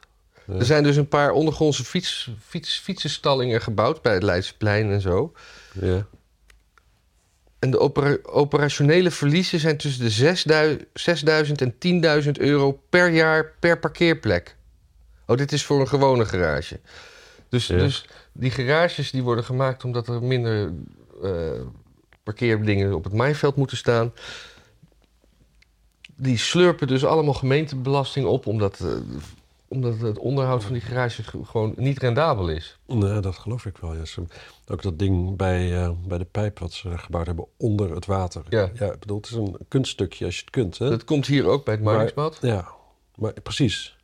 S2: Ja.
S1: er zijn dus een paar ondergrondse fiets, fiets, fietsenstallingen gebouwd bij het Leidseplein en zo.
S2: Ja.
S1: En de opera- operationele verliezen zijn tussen de 6000 6000 en 10.000 euro per jaar per parkeerplek. Oh, dit is voor een gewone garage. Dus,
S2: Ja.
S1: dus die garages die worden gemaakt omdat er minder eh, parkeerdingen op het maaiveld moeten staan. Die slurpen dus allemaal gemeentebelasting op omdat, eh, omdat het onderhoud van die garages ge- gewoon niet rendabel is.
S2: Nou, dat geloof ik wel. Ja. Ze- Ook dat ding bij, eh, bij de pijp wat ze gebouwd hebben onder het water.
S1: Ja.
S2: ja ik bedoel, het is een kunststukje als je het kunt. Hè?
S1: Dat komt hier ook bij het
S2: Maar-
S1: Marnixpad.
S2: Ja, maar, precies.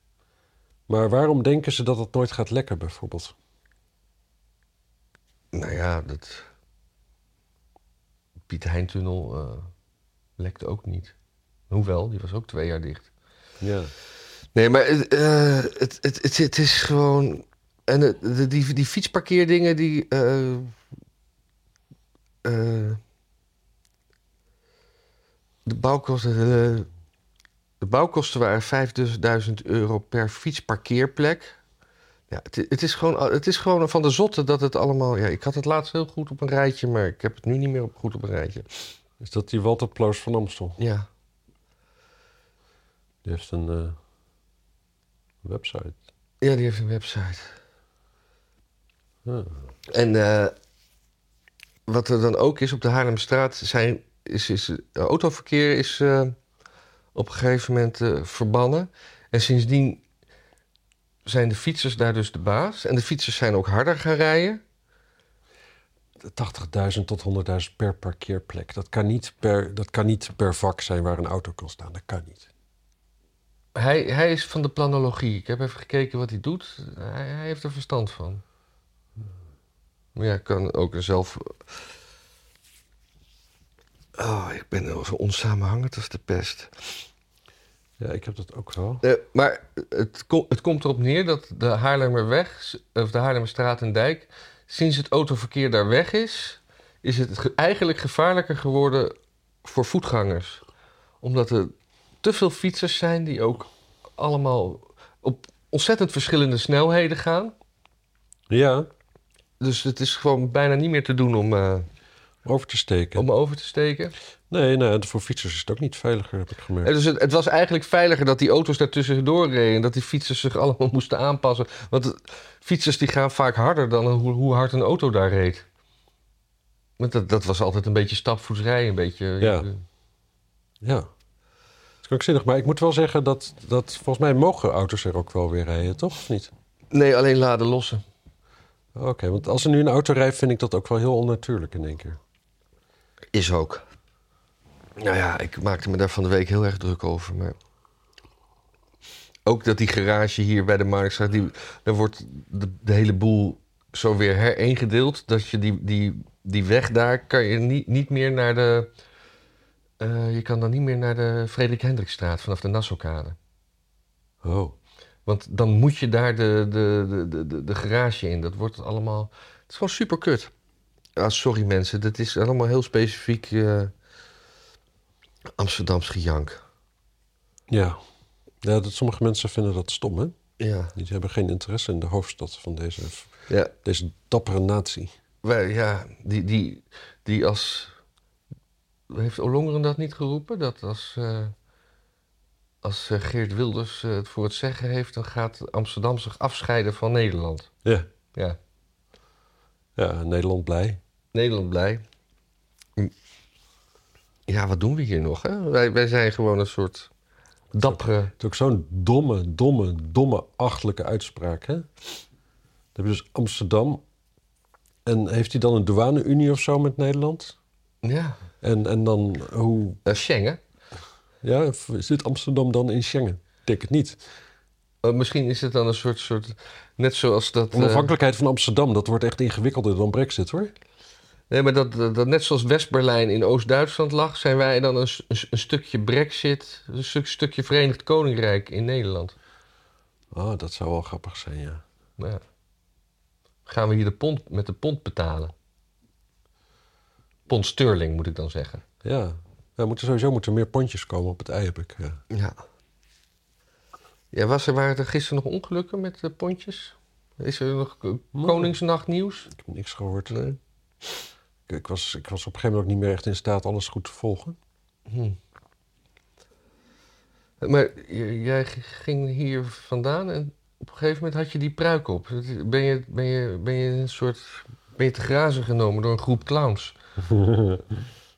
S2: Maar waarom denken ze dat het nooit gaat lekken, bijvoorbeeld?
S1: Nou ja, dat. Piet Heintunnel eh lekte ook niet. Hoewel, die was ook twee jaar dicht.
S2: Ja.
S1: Nee, maar het, eh, het, het, het, het is gewoon. En het- de, die, die fietsparkeerdingen, die. eh, eh, de, bouwkosten, eh, de bouwkosten waren 5000 euro per fietsparkeerplek. Ja, het, het, is gewoon, het is gewoon van de zotte dat het allemaal. Ja, ik had het laatst heel goed op een rijtje, maar ik heb het nu niet meer op, goed op een rijtje.
S2: Is dat die Walter Ploos van Amstel?
S1: Ja.
S2: Die heeft een eh, website.
S1: ja, die heeft een website.
S2: Ja.
S1: En eh, wat er dan ook is op de Haarlemstraat, zijn, is, is, eh, autoverkeer is eh, op een gegeven moment eh, verbannen. En sindsdien zijn de fietsers daar dus de baas. En de fietsers zijn ook harder gaan rijden.
S2: 80.000 tot 100.000 per parkeerplek. Dat kan, niet per, dat kan niet per vak zijn waar een auto kan staan. Dat kan niet.
S1: Hij, hij is van de planologie. Ik heb even gekeken wat hij doet. Hij, hij heeft er verstand van. Maar ja, kan ook zelf. Oh, ik ben wel zo onsamenhangend als de pest.
S2: Ja, ik heb dat ook wel.
S1: Eh, maar het, ko- het komt erop neer dat de Haarlemmerweg, s- of de Haarlemmerstraat en Dijk, sinds het autoverkeer daar weg is, is het ge- eigenlijk gevaarlijker geworden voor voetgangers. Omdat er te veel fietsers zijn die ook allemaal op ontzettend verschillende snelheden gaan.
S2: Ja,
S1: Dus het is gewoon bijna niet meer te doen om, eh,
S2: over te steken.
S1: om over te steken.
S2: Nee, nee, en voor fietsers is het ook niet veiliger, heb ik
S1: En
S2: gemerkt.
S1: dus het, het was eigenlijk veiliger dat die auto's daartussendoor reden. En dat die fietsers zich *laughs* allemaal moesten aanpassen. Want eh, fietsers die gaan vaak harder dan hoe, hoe hard een auto daar reed. Want dat, dat was altijd een beetje stapvoets rijden. Een beetje, eh,
S2: Ja. Ja. Dat is krankzinnig. Maar ik moet wel zeggen dat, dat volgens mij mogen auto's er ook wel weer rijden, toch? Of niet?
S1: Nee, alleen laden lossen.
S2: Oké, want als er nu een auto rijdt, vind ik dat ook wel heel onnatuurlijk in één keer.
S1: Is ook. Nou ja, ik maakte me daar van de week heel erg druk over. Maar ook dat die garage hier bij de Marktstraat... Die, daar wordt de, de hele boel zo weer hereengedeeld... dat je die, die, die weg daar kan je niet, niet meer naar de... eh, je kan dan niet meer naar de Frederik Hendrikstraat vanaf de Nassaukade.
S2: Oh.
S1: Want dan moet je daar de, de, de- de, de, de garage in. Dat wordt allemaal... Het is gewoon super kut. Ah, sorry mensen, dat is allemaal heel specifiek eh Amsterdams gejank.
S2: Ja. ja dat, sommige mensen vinden dat stom, hè?
S1: Ja.
S2: Die hebben geen interesse in de hoofdstad van deze,
S1: Ja,
S2: deze dappere natie.
S1: wij, ja die, die, die als... Heeft Ollongren dat niet geroepen? Dat als, eh, als eh, Geert Wilders eh, het voor het zeggen heeft... dan gaat Amsterdam zich afscheiden van Nederland.
S2: Ja.
S1: Ja,
S2: Ja, Nederland blij.
S1: Nederland blij. Ja, wat doen we hier nog? Hè? Wij, wij zijn gewoon een soort dappere.
S2: Het is ook zo'n domme, domme, domme, achtelijke uitspraak, hè? Dan heb je dus Amsterdam En heeft hij dan een douane-unie of zo met Nederland?
S1: Ja,
S2: En, en dan hoe...
S1: dat is Schengen.
S2: Ja, zit Amsterdam dan in Schengen? Ik denk het niet.
S1: Eh, misschien is het dan een soort, soort net zoals dat... eh,
S2: Onafhankelijkheid van Amsterdam, dat wordt echt ingewikkelder dan brexit hoor.
S1: nee, maar dat, dat, dat net zoals West-Berlijn in Oost-Duitsland lag... zijn wij dan een, s- een s- een stukje brexit, een stuk, stukje Verenigd Koninkrijk in Nederland.
S2: Ah, dat zou wel grappig zijn, ja.
S1: Nou, ja. gaan we hier de pond, met de pond betalen? Pond sterling, moet ik dan zeggen.
S2: Ja, ja moeten sowieso moeten meer pontjes komen op het ei, heb ik. eh, Ja.
S1: Ja. Ja, was er, waren er gisteren nog ongelukken met de pontjes? Is er nog eh, Koningsnacht nieuws?
S2: Ik heb niks gehoord. Ik, ik was, ik was op een gegeven moment ook niet meer echt in staat alles goed te volgen.
S1: Maar j- jij g- ging hier vandaan en op een gegeven moment had je die pruik op. Ben je, ben je, ben je een soort... Ben je te grazen genomen door een groep clowns?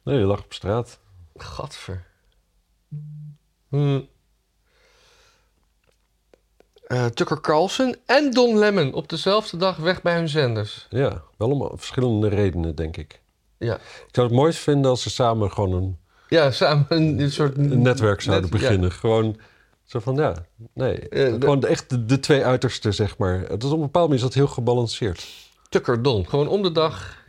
S2: Nee, je lag op straat.
S1: Gadver. Hm. Eh, Tucker Carlson en Don Lemon op dezelfde dag weg bij hun zenders.
S2: Ja, wel om verschillende redenen, denk ik.
S1: Ja,
S2: Ik zou het mooist vinden als ze samen gewoon een,
S1: ja samen een, een soort...
S2: een netwerk zouden
S1: net- ja.
S2: beginnen. Gewoon zo van, ja, nee.
S1: Eh, de-
S2: gewoon echt de, de twee uitersten, zeg maar. Het is op een bepaalde manier is dat heel gebalanceerd.
S1: Tucker Don. Gewoon om de dag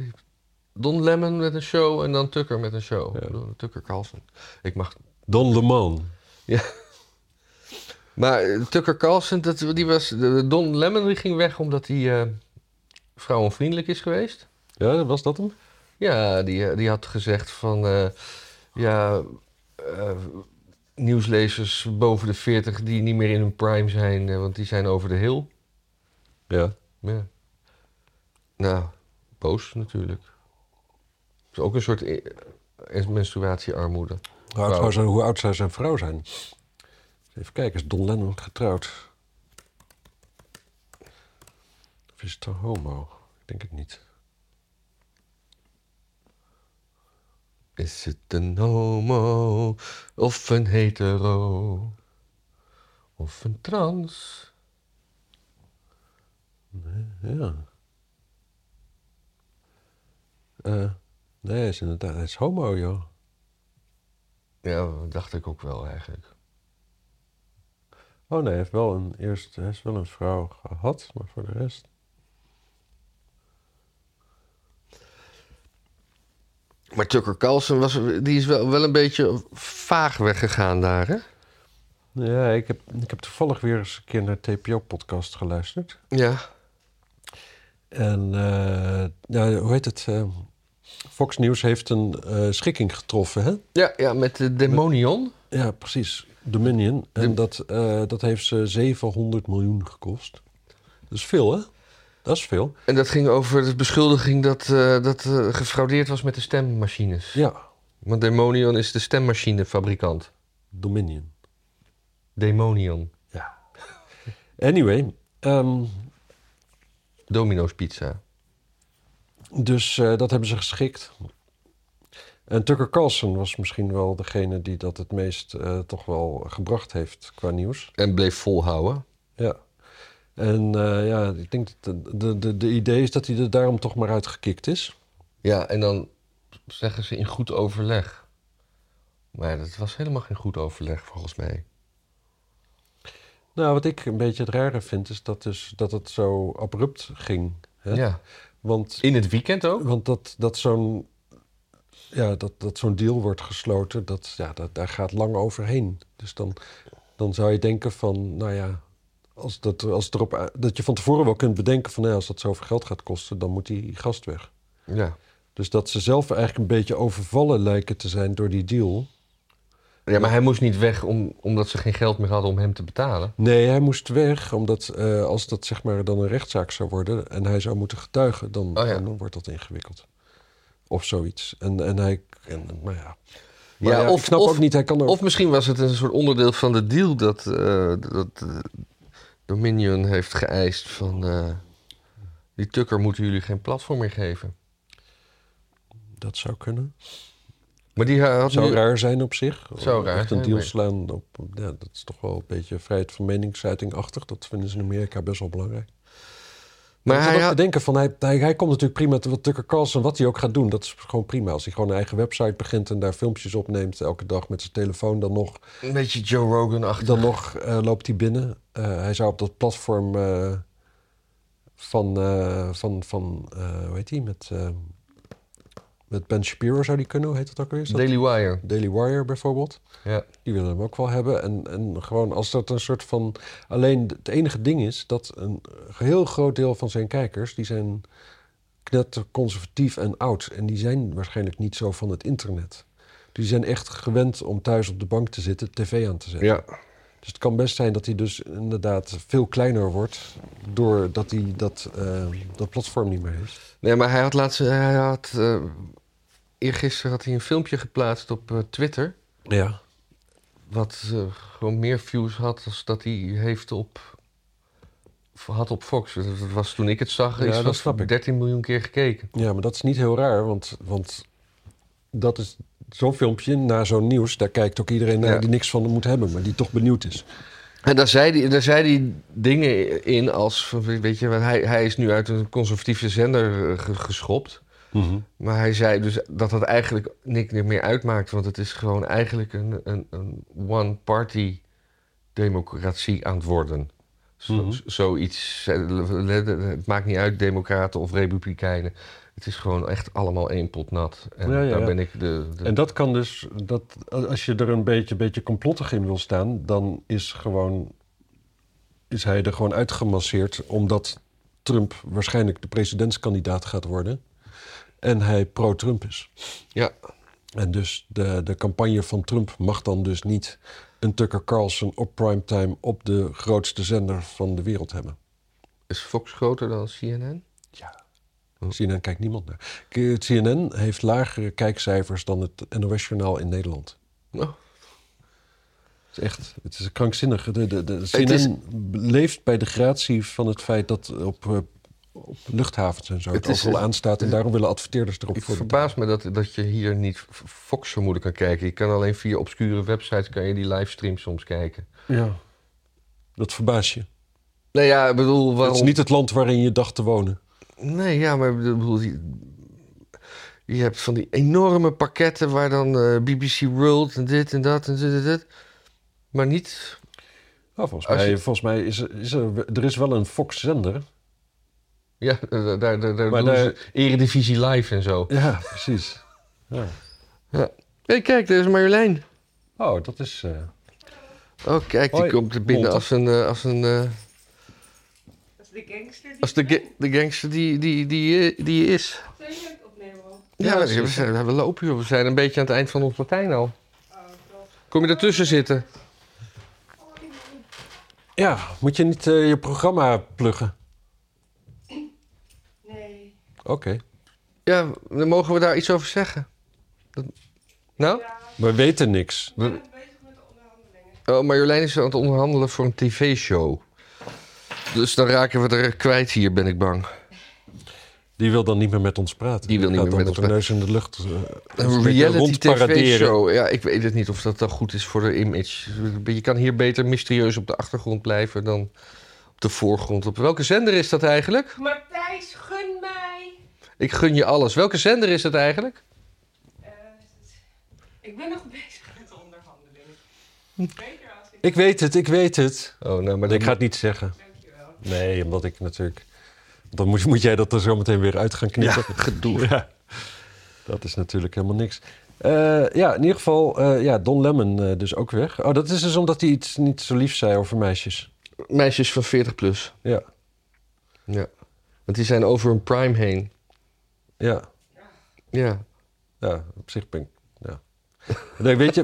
S1: Don Lemon met een show en dan Tucker met een show.
S2: Ja.
S1: Door Tucker Carlson. Ik mag.
S2: Don LeMan.
S1: Ja. Maar eh, Tucker Carlson, dat, die was, de- Don Lemon die ging weg omdat hij eh, vrouwenvriendelijk is geweest.
S2: Ja, was dat hem?
S1: Ja, die, eh, die had gezegd van, eh, ja, eh, nieuwslezers boven de 40 die niet meer in hun prime zijn, eh, want die zijn over de hill.
S2: Ja.
S1: Ja. Nou, boos natuurlijk. is ook een soort i- eh, menstruatiearmoede.
S2: Hoe oud, zou zijn, hoe oud zou zijn vrouw zijn? Even kijken, is Don Lennon getrouwd? Of is het een homo? Ik denk het niet.
S1: Is het een homo of een hetero? Of een trans?
S2: Ja. Eh, nee, hij is inderdaad, hij is homo, joh.
S1: Ja, dat dacht ik ook wel eigenlijk.
S2: Oh nee, hij heeft wel een, eerst, hij is wel een vrouw gehad, maar voor de rest...
S1: Maar Tucker Carlson was, die is wel, wel een beetje vaag weggegaan daar, hè?
S2: Ja, ik heb, ik heb toevallig weer eens een keer naar TPO-podcast geluisterd.
S1: Ja.
S2: En eh, ja, hoe heet het? eh, Fox News heeft een eh, schikking getroffen, hè?
S1: Ja, ja met de demonion.
S2: Ja, precies. Dominion. En dat, eh, dat heeft ze 700 miljoen gekost. Dat is veel, hè? Dat is veel.
S1: En dat ging over de beschuldiging dat, eh, dat eh, gefraudeerd was met de stemmachines.
S2: Ja,
S1: Want Demonion is de stemmachinefabrikant.
S2: Dominion.
S1: Demonion.
S2: Ja. Anyway, ehm,
S1: Domino's Pizza.
S2: dus eh, dat hebben ze geschikt. En Tucker Carlson was misschien wel degene die dat het meest eh, toch wel gebracht heeft qua nieuws.
S1: En bleef volhouden.
S2: Ja. En eh, ja, ik denk dat de, de, de, de idee is dat hij er daarom toch maar uitgekikt is.
S1: Ja, en dan zeggen ze in goed overleg. Maar dat was helemaal geen goed overleg volgens mij.
S2: Nou, wat ik een beetje het rare vind, is dat, dus, dat het zo abrupt ging. Hè?
S1: Ja.
S2: Want,
S1: In het weekend ook?
S2: want dat, dat zo'n ja, dat, dat zo'n deal wordt gesloten, dat, ja, dat, daar gaat lang overheen. Dus dan, dan zou je denken van, nou ja, als dat, als het erop, a- dat je van tevoren wel kunt bedenken van, nou, als dat zoveel geld gaat kosten, dan moet die gast weg.
S1: Ja.
S2: Dus dat ze zelf eigenlijk een beetje overvallen lijken te zijn door die deal.
S1: Ja, maar hij moest niet weg om, omdat ze geen geld meer hadden om hem te betalen.
S2: Nee, hij moest weg, omdat eh, als dat zeg maar dan een rechtszaak zou worden en hij zou moeten getuigen, dan,
S1: Oh ja.
S2: dan wordt dat ingewikkeld. Of zoiets. En, en hij. En, maar ja. Maar
S1: Ja,
S2: ja,
S1: of-
S2: ik snap
S1: of-
S2: ook niet, hij kan er.
S1: Of misschien was het een soort onderdeel van de deal dat, eh, dat eh, Dominion heeft geëist van... eh, die Tucker moeten jullie geen platform meer geven.
S2: dat zou kunnen.
S1: Maar die eh, had
S2: Zou
S1: nu-
S2: raar zijn op zich.
S1: Zou raar
S2: Echt een
S1: zijn,
S2: deal
S1: maar-
S2: slaan op. Ja, dat is toch wel een beetje vrijheid van meningsuiting-achtig. Dat vinden ze in Amerika best wel belangrijk. Maar
S1: Maar
S2: hij
S1: hij
S2: ook
S1: had-
S2: te denken van, hij, hij, hij komt natuurlijk prima, te- wat Tucker Carlson, wat hij ook gaat doen, dat is gewoon prima. Als hij gewoon een eigen website begint en daar filmpjes opneemt, elke dag met zijn telefoon, dan nog,
S1: een beetje Joe Rogan achter.
S2: dan nog eh, loopt hij binnen. Eh, hij zou op dat platform eh, van, eh, van, van eh, hoe heet die, met, eh, met Ben Shapiro zou die kunnen, hoe heet dat ook weer? Is dat
S1: Daily Wire.
S2: Daily Wire bijvoorbeeld.
S1: Ja.
S2: Die willen hem ook wel hebben. En, en gewoon als dat een soort van. Alleen het enige ding is dat een heel groot deel van zijn kijkers. die zijn knetterconservatief en oud. En die zijn waarschijnlijk niet zo van het internet. Die zijn echt gewend om thuis op de bank te zitten, tv aan te zetten.
S1: ja.
S2: Dus het kan best zijn dat hij dus inderdaad veel kleiner wordt. doordat hij dat, eh, dat platform niet meer heeft.
S1: Nee, maar hij had laatst... Hij had, eh, eergisteren had hij een filmpje geplaatst op eh, Twitter...
S2: Ja.
S1: wat eh, gewoon meer views had dan dat hij heeft op, had op Fox. Dat was toen ik het zag,
S2: Ja,
S1: is
S2: dat
S1: dat
S2: snap ik.
S1: 13 miljoen keer gekeken.
S2: Ja, maar dat is niet heel raar, want, want dat is zo'n filmpje na zo'n nieuws. Daar kijkt ook iedereen naar
S1: Ja.
S2: die niks van moet hebben, maar die toch benieuwd is.
S1: En daar zei hij, daar zei hij dingen in als, van, weet je, want hij, hij is nu uit een conservatieve zender eh, ge- geschopt. Maar hij zei dus dat dat eigenlijk niks meer uitmaakt. Want het is gewoon eigenlijk een, een, een one-party democratie aan het worden. Zo,
S2: Mhm.
S1: z- Zoiets. eh, Het maakt niet uit, democraten of republikeinen. Het is gewoon echt allemaal één pot nat. En
S2: Ja, ja,
S1: daar
S2: ja.
S1: ben ik de... de-
S2: En dat kan dus, dat, als je er een beetje, beetje complottig in wil staan, dan is, gewoon, is hij er gewoon uitgemasseerd, omdat Trump waarschijnlijk de presidentskandidaat gaat worden. En hij pro-Trump is.
S1: Ja.
S2: En dus de, de campagne van Trump mag dan dus niet een Tucker Carlson op primetime op de grootste zender van de wereld hebben.
S1: Is Fox groter dan CNN?
S2: Ja.
S1: Oh.
S2: CNN kijkt niemand naar. K- het CNN heeft lagere kijkcijfers dan het NOS-journaal in Nederland.
S1: Nou,
S2: Het is echt, het is krankzinnig. De, de, de
S1: Het
S2: CNN
S1: is-
S2: leeft bij de gratie van het feit dat op, eh, op luchthavens en zo het,
S1: Het is-
S2: overal aanstaat. En daarom willen adverteerders erop
S1: ik
S2: voor
S1: verbaas me dat, dat je hier niet F- Fox zo moeilijk kan kijken. Je kan alleen via obscure websites kan je die livestream soms kijken.
S2: Ja. Dat verbaast je.
S1: Nou ja, ik bedoel, waarom...
S2: Het is niet het land waarin je dacht te wonen.
S1: Nee, ja, maar ik bedoel, je, je hebt van die enorme pakketten waar dan eh, BBC World en dit en dat en dit en dit. Maar niet.
S2: Nou, volgens,
S1: Als
S2: mij,
S1: je-
S2: volgens mij is, er- is er, er is wel een Fox-zender.
S1: Ja, *laughs* eh, daar, daar, daar
S2: Maar
S1: doen
S2: daar-
S1: ze Eredivisie Live en zo.
S2: Ja, precies. Ja.
S1: hey, kijk, daar is Marjolein.
S2: Oh, dat is... eh,
S1: Oh, kijk, die
S2: Hoi,
S1: komt er binnen
S2: Monte.
S1: als een, eh, als een, eh,
S3: Dat is de gangster die
S1: als de, ga- de gangster die, die, die, eh, die is.
S3: Zijn jullie aan het opnemen al?
S1: Ja, maar we, zijn, we lopen hier. We zijn een beetje aan het eind van ons Latijn al.
S3: Oh, klopt.
S1: Kom je ertussen zitten?
S2: Ja, moet je niet eh, je programma pluggen?
S3: Nee.
S2: Oké.
S1: Ja, dan mogen we daar iets over zeggen. Dat- nou?
S3: Ja,
S2: We weten niks.
S3: we zijn bezig met de onderhandelingen.
S1: Oh, Marjolein is aan het onderhandelen voor een tv-show. Dus dan raken we er kwijt hier, ben ik bang.
S2: Die wil dan niet meer met ons praten.
S1: Die wil niet
S2: gaat
S1: meer
S2: dan
S1: met
S2: haar
S1: ons
S2: neus in de lucht eh,
S1: Een
S2: beetje
S1: reality
S2: rondparaderen.
S1: tv-show. Ja, ik weet het niet of dat dan goed is voor de image. Je kan hier beter mysterieus op de achtergrond blijven dan op de voorgrond. Op welke zender is dat eigenlijk?
S3: Matthijs, gun mij!
S1: Ik gun je alles. Welke zender is dat eigenlijk?
S3: Eh, ik ben nog *laughs* bezig met de onderhandelingen. Hm. Beter als ik...
S2: Ik weet het, ik weet het.
S1: Oh, nou, maar
S2: Maar
S1: dan-
S2: ik ga het niet zeggen.
S3: Dankjewel.
S2: Nee, omdat ik natuurlijk... Dan moet, moet jij dat er zo meteen weer uit gaan knippen. *laughs* Ja, gedoe. Dat is natuurlijk helemaal niks. Eh, ja, in ieder geval, eh, ja, Don Lemon eh, dus ook weg. Oh, dat is dus omdat hij iets niet zo lief zei over meisjes.
S1: Meisjes van 40 plus.
S2: Ja,
S1: Ja. Want die zijn over hun prime heen.
S2: ja.
S1: Ja.
S2: Ja, op zich ben ik. Ja. Nee,
S1: *laughs*
S2: weet je.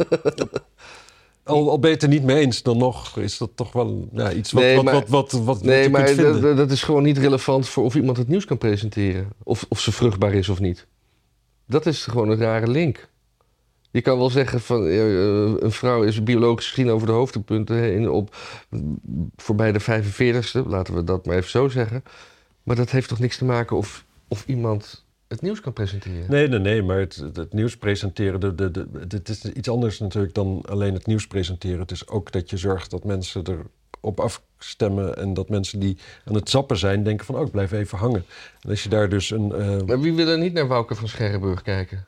S2: Al, al ben je het er niet mee eens, dan nog is dat toch wel ja, iets wat,
S1: Nee,
S2: wat,
S1: maar-
S2: wat, wat, wat, wat
S1: Nee,
S2: je
S1: maar
S2: kunt
S1: dat,
S2: vinden.
S1: dat- dat is gewoon niet relevant voor of iemand het nieuws kan presenteren. Of, of ze vruchtbaar is of niet. Dat is gewoon een rare link. Je kan wel zeggen van eh, eh, een vrouw is biologisch gezien over de hoofdpunten heen op voorbij de 45ste, laten we dat maar even zo zeggen. Maar dat heeft toch niks te maken of, of iemand het nieuws kan presenteren.
S2: Nee, nee, nee, maar het, het, het nieuws presenteren, de, de, de, het is iets anders natuurlijk dan alleen het nieuws presenteren. Het is ook dat je zorgt dat mensen er op afstemmen. En dat mensen die aan het zappen zijn denken van, oh, ik blijf even hangen. En als je daar dus een eh,
S1: Maar wie wil er niet naar Wouke van Scherrenburg kijken?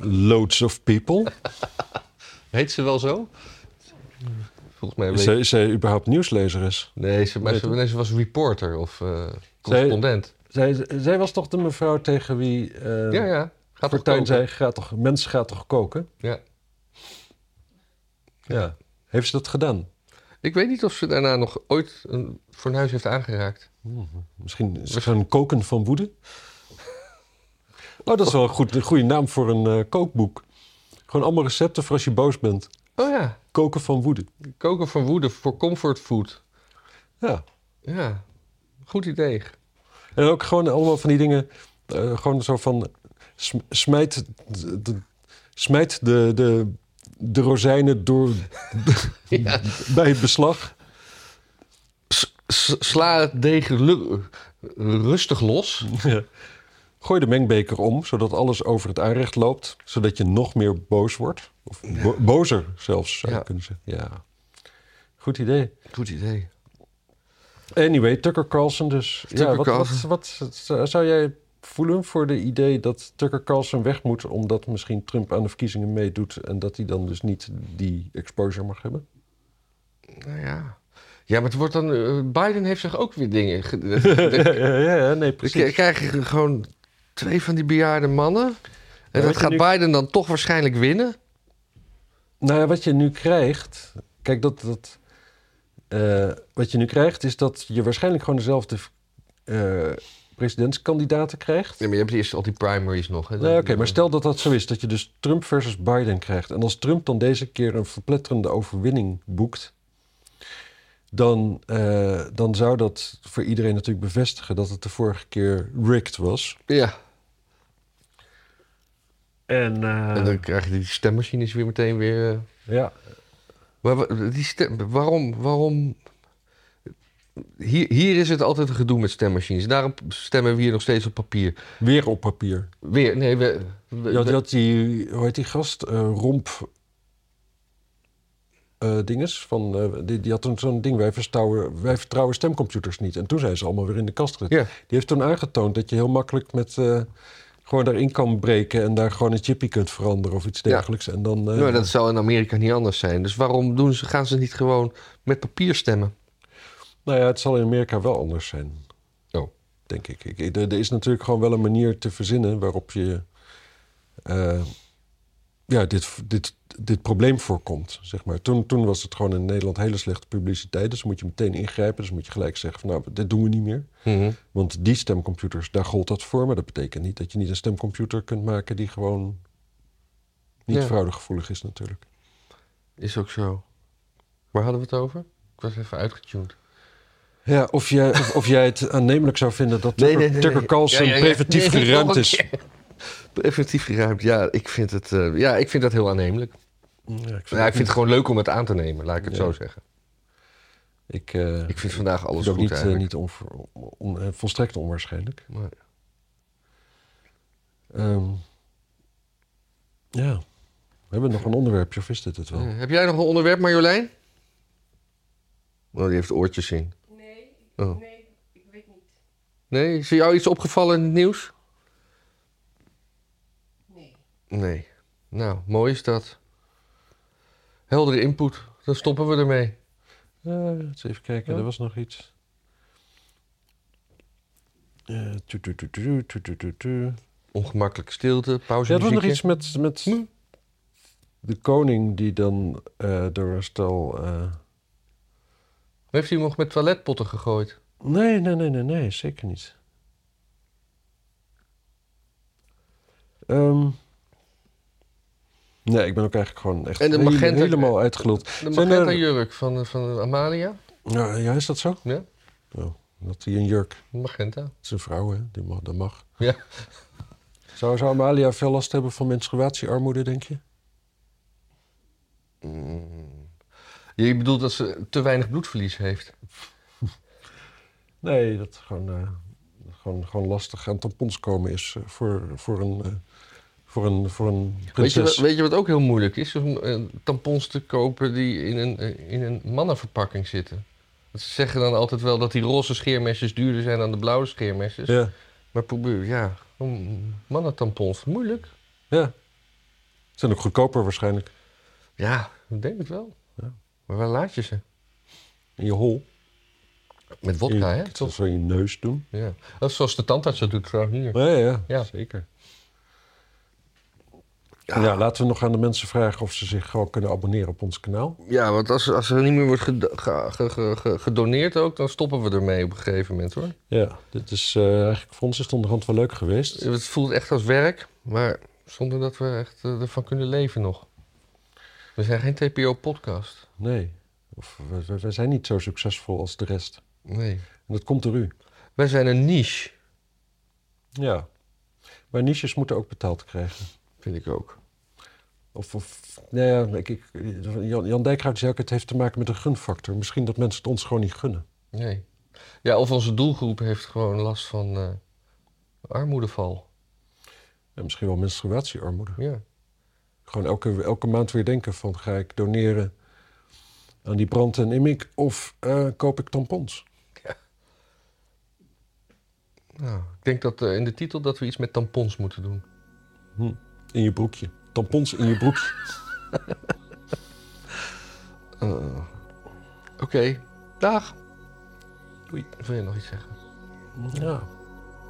S2: loads of people...
S1: Heet ze wel zo? Volgens mij weet
S2: Is eh, zij, is zij überhaupt nieuwslezer is?
S1: Nee, ze, maar ze, nee, ze was reporter of eh, correspondent.
S2: Zij, zij was toch de mevrouw tegen wie eh
S1: ja, ja. Gaat toch
S2: Fortuyn
S1: koken?
S2: zei, gaat toch, mens gaat toch koken?
S1: Ja.
S2: Ja. Heeft ze dat gedaan?
S1: Ik weet niet of ze daarna nog ooit een fornuis heeft aangeraakt.
S2: Misschien is het een koken van woede? Oh, dat is wel een, goed, een goede naam voor een eh, kookboek. Gewoon allemaal recepten voor als je boos bent.
S1: Oh ja,
S2: Koken van woede.
S1: koken van woede voor comfort food.
S2: Ja.
S1: Ja, goed idee.
S2: En ook gewoon allemaal van die dingen. eh, gewoon zo van. sm- Smijt de, de- smijt de, de, de rozijnen door,
S1: Ja.
S2: bij het beslag.
S1: S- s- Sla het deeg lu- rustig los.
S2: Gooi de mengbeker om, zodat alles over het aanrecht loopt. Zodat je nog meer boos wordt. Of bo- bozer zelfs, zou je
S1: Ja.
S2: kunnen zeggen. Ja. Goed idee.
S1: Goed idee.
S2: Anyway, Tucker Carlson dus. ja,
S1: Tucker
S2: wat,
S1: Carlson.
S2: Wat, wat z- zou jij voelen voor de idee dat Tucker Carlson weg moet... omdat misschien Trump aan de verkiezingen meedoet... en dat hij dan dus niet die exposure mag hebben?
S1: Nou ja. Ja, maar het wordt dan. eh, Biden heeft zich ook weer dingen.
S2: *laughs*
S1: ge-
S2: Ja, ja, ja, nee,
S1: Dan
S2: precies.
S1: k- krijg je gewoon twee van die bejaarde mannen. En
S2: weet
S1: dat
S2: je
S1: gaat
S2: nu-
S1: Biden dan toch waarschijnlijk winnen.
S2: Nou ja, wat je nu krijgt... Kijk, dat, dat, eh, wat je nu krijgt is dat je waarschijnlijk gewoon dezelfde eh, presidentskandidaten krijgt.
S1: Ja, maar je hebt eerst al die primaries nog. Hè?
S2: Nee, oké, maar stel dat dat zo is, dat je dus Trump versus Biden krijgt. En als Trump dan deze keer een verpletterende overwinning boekt, dan, eh, dan zou dat voor iedereen natuurlijk bevestigen dat het de vorige keer rigged was.
S1: Ja,
S2: En,
S1: en eh, dan krijg je die stemmachines weer meteen weer. eh,
S2: ja,
S1: Maar wa- die stem, waarom, waarom... Hier, hier is het altijd een gedoe met stemmachines. Daarom stemmen we hier nog steeds op papier.
S2: weer op papier.
S1: Weer, nee, we... we-
S2: Je had, je
S1: we-
S2: had die, hoe heet die gast? Eh, romp. eh, dinges van, eh, die, die had toen zo'n ding, wij vertrouwen, wij vertrouwen stemcomputers niet. En toen zijn ze allemaal weer in de kast gezet.
S1: Ja.
S2: Die heeft toen aangetoond dat je heel makkelijk met eh, gewoon daarin kan breken en daar gewoon een chipje kunt veranderen of iets
S1: Ja.
S2: dergelijks. En dan, eh,
S1: Nou, dat zou in Amerika niet anders zijn. Dus waarom doen ze, gaan ze niet gewoon met papier stemmen?
S2: nou ja, het zal in Amerika wel anders zijn.
S1: Oh.
S2: Denk ik. ik ik- er, er is natuurlijk gewoon wel een manier te verzinnen waarop je eh, ja, dit, dit, dit probleem voorkomt. Zeg maar. toen, toen was het gewoon in Nederland hele slechte publiciteit. Dus moet je meteen ingrijpen. Dus moet je gelijk zeggen van nou, dit doen we niet meer. Want die stemcomputers, daar gold dat voor. Maar dat betekent niet dat je niet een stemcomputer kunt maken die gewoon niet
S1: Ja.
S2: fraudegevoelig is natuurlijk.
S1: Is ook zo. Waar hadden we het over? Ik was even uitgetuned.
S2: Ja, of jij, of, of jij het aannemelijk zou vinden dat Tucker, Tucker Carlson
S1: Ja, ja, ja.
S2: preventief
S1: Nee,
S2: geruimd
S1: nog een
S2: is.
S1: keer. Preventief geruimd, ja. Ik vind, het, eh, ja, ik vind dat heel aannemelijk.
S2: Ja, ik vind,
S1: Ja, ik vind het gewoon leuk om het aan te nemen, laat ik het
S2: Ja.
S1: zo zeggen.
S2: ik, eh,
S1: Ik vind vandaag alles
S2: is ook
S1: goed
S2: niet, eh,
S1: eigenlijk.
S2: niet onver- on- on- eh, volstrekt onwaarschijnlijk.
S1: Maar-
S2: Ehm, ja, we hebben nog een onderwerpje, of is dit het wel?
S1: Ja, Eh, heb jij nog een onderwerp, Marjolein? Oh, die heeft oortjes in.
S3: Nee, ik-
S1: Oh.
S3: nee, ik weet niet.
S1: Nee, is jou iets opgevallen in het nieuws?
S3: Nee.
S1: Nee. Nou, mooi is dat. Heldere input. Dan stoppen we ermee.
S2: Eh, eens even kijken,
S1: Ja.
S2: er was nog iets. Eh, tu, tu, tu, tu, tu, tu, tu, tu.
S1: Ongemakkelijke stilte, pauze.
S2: Ja, er was nog
S1: muziekje. Hm?
S2: iets met, met de koning die dan eh, door een stel... eh,
S1: Heeft hij hem nog met toiletpotten gegooid?
S2: Nee, nee, nee, nee, nee, zeker niet. Ehm, nee, ik ben ook eigenlijk gewoon echt
S1: En de
S2: hele-
S1: magenta-
S2: helemaal uitgeluld.
S1: De
S2: Zijn
S1: magenta
S2: er-
S1: jurk van, van Amalia?
S2: Nou, ja, is dat zo?
S1: Ja,
S2: Oh, dat hij een jurk.
S1: magenta.
S2: Het is een vrouw, hè? Die mag, dat mag.
S1: Ja.
S2: Zou, zou Amalia veel last hebben van menstruatiearmoede, denk je?
S1: Je bedoelt dat ze te weinig bloedverlies heeft?
S2: Nee, dat gewoon, eh, gewoon, gewoon lastig aan tampons komen is eh, voor, voor een eh, Voor een, voor een
S1: Weet je, wat-
S2: prinses.
S1: weet je wat ook heel moeilijk is? Om eh, tampons te kopen die in een, eh, in een mannenverpakking zitten. Want Ze zeggen dan altijd wel dat die roze scheermesjes duurder zijn dan de blauwe scheermesjes.
S2: Ja,
S1: Maar probeer, ja, om- mannentampons, moeilijk.
S2: ja. Zijn ook goedkoper waarschijnlijk.
S1: Ja, ik denk het wel.
S2: Ja.
S1: Maar waar laat je ze?
S2: In je hol.
S1: Met
S2: In je-
S1: wodka, hè?
S2: Dat zou je neus doen.
S1: Ja. Dat is zoals de tandarts dat doet trouwens hier.
S2: Ja, ja,
S1: Ja.
S2: zeker. Ja, laten we nog aan de mensen vragen of ze zich gewoon kunnen abonneren op ons kanaal.
S1: Ja, want als, als er niet meer wordt ged- ge- ge- ge- ge- gedoneerd ook, dan stoppen we ermee op een gegeven moment hoor.
S2: Ja, dit is eh, eigenlijk voor ons is het onderhand wel leuk geweest.
S1: Het voelt echt als werk, maar zonder dat we echt eh, ervan kunnen leven nog. We zijn geen TPO-podcast.
S2: Nee, of, we, we- we zijn niet zo succesvol als de rest.
S1: Nee.
S2: En dat komt door u.
S1: Wij zijn een niche,
S2: Ja. Maar niches moeten ook betaald krijgen.
S1: vind ik ook.
S2: Of, of nou ja, ik, ik, Jan, Jan Dijkgraaf zei ook, het heeft te maken met een gunfactor. Misschien dat mensen het ons gewoon niet gunnen.
S1: Nee. Ja, of onze doelgroep heeft gewoon last van eh, armoedeval.
S2: En misschien wel menstruatiearmoede.
S1: Ja.
S2: Gewoon elke, elke maand weer denken van, ga ik doneren aan die brand en immik of eh, koop ik tampons?
S1: Nou, ik denk dat eh, in de titel dat we iets met tampons moeten doen.
S2: In je broekje. Tampons in je broekje.
S1: Oké, dag. Oei, wil je nog iets zeggen?
S2: Ja.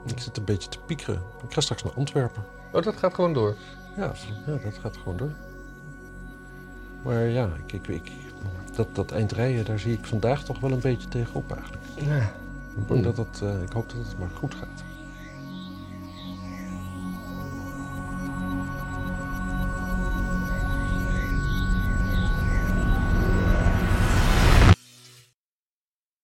S2: Ik zit een beetje te piekeren. Ik ga straks naar Antwerpen.
S1: Oh, dat gaat gewoon door.
S2: Ja, ja dat gaat gewoon door. Maar ja, ik, ik, ik, dat, dat eindrijden, daar zie ik vandaag toch wel een beetje tegenop eigenlijk.
S1: Ja.
S2: Ik, hoop dat het, eh, ik hoop dat het maar goed gaat.